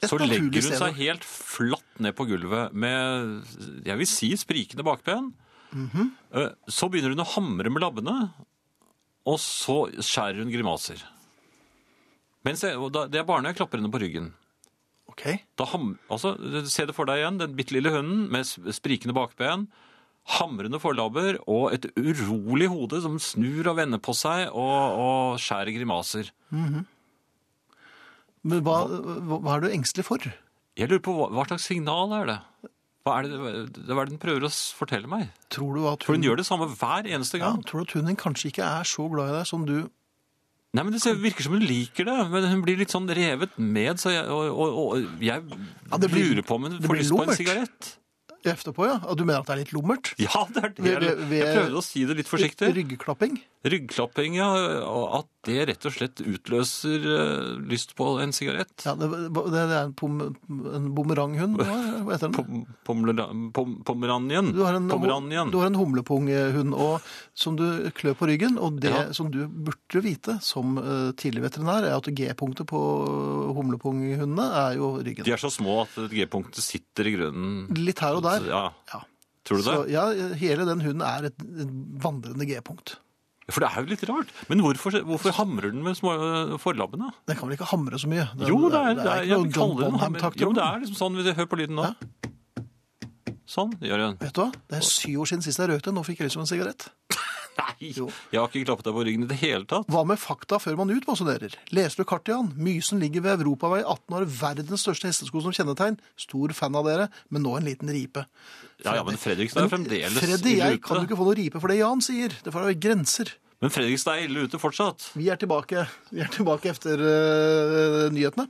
[SPEAKER 1] et
[SPEAKER 2] Så legger
[SPEAKER 1] naturlig
[SPEAKER 2] hun
[SPEAKER 1] sted.
[SPEAKER 2] seg helt flatt ned på gulvet med, jeg vil si, sprikende bakben.
[SPEAKER 1] Mhm.
[SPEAKER 2] Eh, Så begynner hun å hamre med labbene, og så skjærer hun grimaser. Mens jeg, og da, det er bare når jeg klapper henne på ryggen.
[SPEAKER 1] Ok.
[SPEAKER 2] Da ham, altså, se det for deg igjen, den bitte lille hunden med s- sprikende bakben, hamrende forlabber og et urolig hode som snur og vender på seg og, og skjærer grimaser.
[SPEAKER 1] Men hva, hva, hva er du engstelig for?
[SPEAKER 2] Jeg lurer på hva, hva slags signal er det? Hva er det, hva er det den prøver å s- fortelle meg?
[SPEAKER 1] Tror du at
[SPEAKER 2] For hun
[SPEAKER 1] hun,
[SPEAKER 2] gjør det samme hver eneste
[SPEAKER 1] ja,
[SPEAKER 2] gang.
[SPEAKER 1] tror du at hun din kanskje ikke er så glad i deg som du
[SPEAKER 2] Nei, men Det ser- virker som hun liker det, men hun blir litt sånn revet med. Så jeg, og, og, og jeg
[SPEAKER 1] Ja, det blir-
[SPEAKER 2] lurer på om hun
[SPEAKER 1] det
[SPEAKER 2] får
[SPEAKER 1] blir
[SPEAKER 2] lyst på en
[SPEAKER 1] lummert.
[SPEAKER 2] sigarett.
[SPEAKER 1] etterpå, ja? At du mener at det er litt lummert?
[SPEAKER 2] Ja, det er det.
[SPEAKER 1] Ved-
[SPEAKER 2] Jeg,
[SPEAKER 1] ved-
[SPEAKER 2] jeg
[SPEAKER 1] ved-
[SPEAKER 2] prøvde å si det litt forsiktig.
[SPEAKER 1] Ryggklapping?
[SPEAKER 2] Ryggklapping, ja. og At det rett og slett utløser eh, lyst på en sigarett.
[SPEAKER 1] Ja, det, det er en, pom, en bumeranghund? Hva heter den?
[SPEAKER 2] Pom- pomlera- pom- Pomeranien.
[SPEAKER 1] Du har en,
[SPEAKER 2] Pomeranien.
[SPEAKER 1] du har en humlepunghund og, som du klør på ryggen, og det
[SPEAKER 2] Ja.
[SPEAKER 1] som du burde vite som eh, tidlig veterinær, er at G-punktet på humlepunghundene er jo ryggen.
[SPEAKER 2] De er så små at G-punktet sitter i grunnen.
[SPEAKER 1] Litt her og der.
[SPEAKER 2] Ja,
[SPEAKER 1] Ja.
[SPEAKER 2] Tror du det?
[SPEAKER 1] Så ja, hele den hunden er et, et vandrende G-punkt.
[SPEAKER 2] For det er jo litt rart. Men hvorfor, hvorfor hamrer den med små øh, forlabbene?
[SPEAKER 1] Den kan vel ikke hamre så mye? Den,
[SPEAKER 2] Jo, det er, det er,
[SPEAKER 1] ikke
[SPEAKER 2] jeg
[SPEAKER 1] noe John
[SPEAKER 2] kaller den hammer.
[SPEAKER 1] Bonham-takter
[SPEAKER 2] Jo,
[SPEAKER 1] om
[SPEAKER 2] det
[SPEAKER 1] den.
[SPEAKER 2] er liksom sånn, hvis jeg hører på lyden nå. Sånn gjør den.
[SPEAKER 1] Vet du hva? Det er syv år siden sist jeg røkte, nå fikk jeg lyst på en sigarett.
[SPEAKER 2] (laughs) Nei,
[SPEAKER 1] Jo.
[SPEAKER 2] jeg har ikke klappet deg på ryggen i det hele tatt.
[SPEAKER 1] Hva med fakta før man utbasunerer? Leser du kartet, Jan? Mysen ligger ved Europavei 18 år, verdens største hestesko som kjennetegn. Stor fan av dere, men nå en liten ripe.
[SPEAKER 2] Ja, ja, men Fredrikstad er fremdeles
[SPEAKER 1] Freddy,
[SPEAKER 2] i
[SPEAKER 1] jeg
[SPEAKER 2] rute.
[SPEAKER 1] kan jo ikke få noe ripe for det Jan sier. Det får være grenser.
[SPEAKER 2] Men Fredrikstad er ille ute fortsatt.
[SPEAKER 1] Vi er tilbake, vi er tilbake efter eh, nyhetene.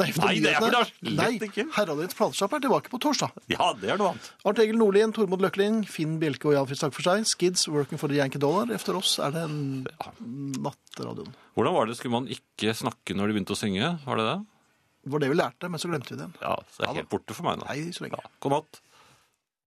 [SPEAKER 1] Nei, efter
[SPEAKER 2] Nei, det er vel da slett
[SPEAKER 1] Nei,
[SPEAKER 2] ikke.
[SPEAKER 1] Herreavdelings platesjappe er tilbake på torsdag.
[SPEAKER 2] Ja, det er noe annet.
[SPEAKER 1] Arnt Egil Nordlien, Tormod Løkling, Finn Bjelke og Jan Fritz takk for seg. Skids, Working for the Yankee Dollar. Efter oss er det Natteradioen.
[SPEAKER 2] Hvordan var det? Skulle man ikke snakke når de begynte å synge? Var det det?
[SPEAKER 1] Det var det vi lærte, men så glemte vi det igjen.
[SPEAKER 2] Ja, det
[SPEAKER 1] Ja
[SPEAKER 2] er
[SPEAKER 1] da.
[SPEAKER 2] helt borte for meg nå.
[SPEAKER 1] Nei, så lenge.
[SPEAKER 2] Ja, god natt.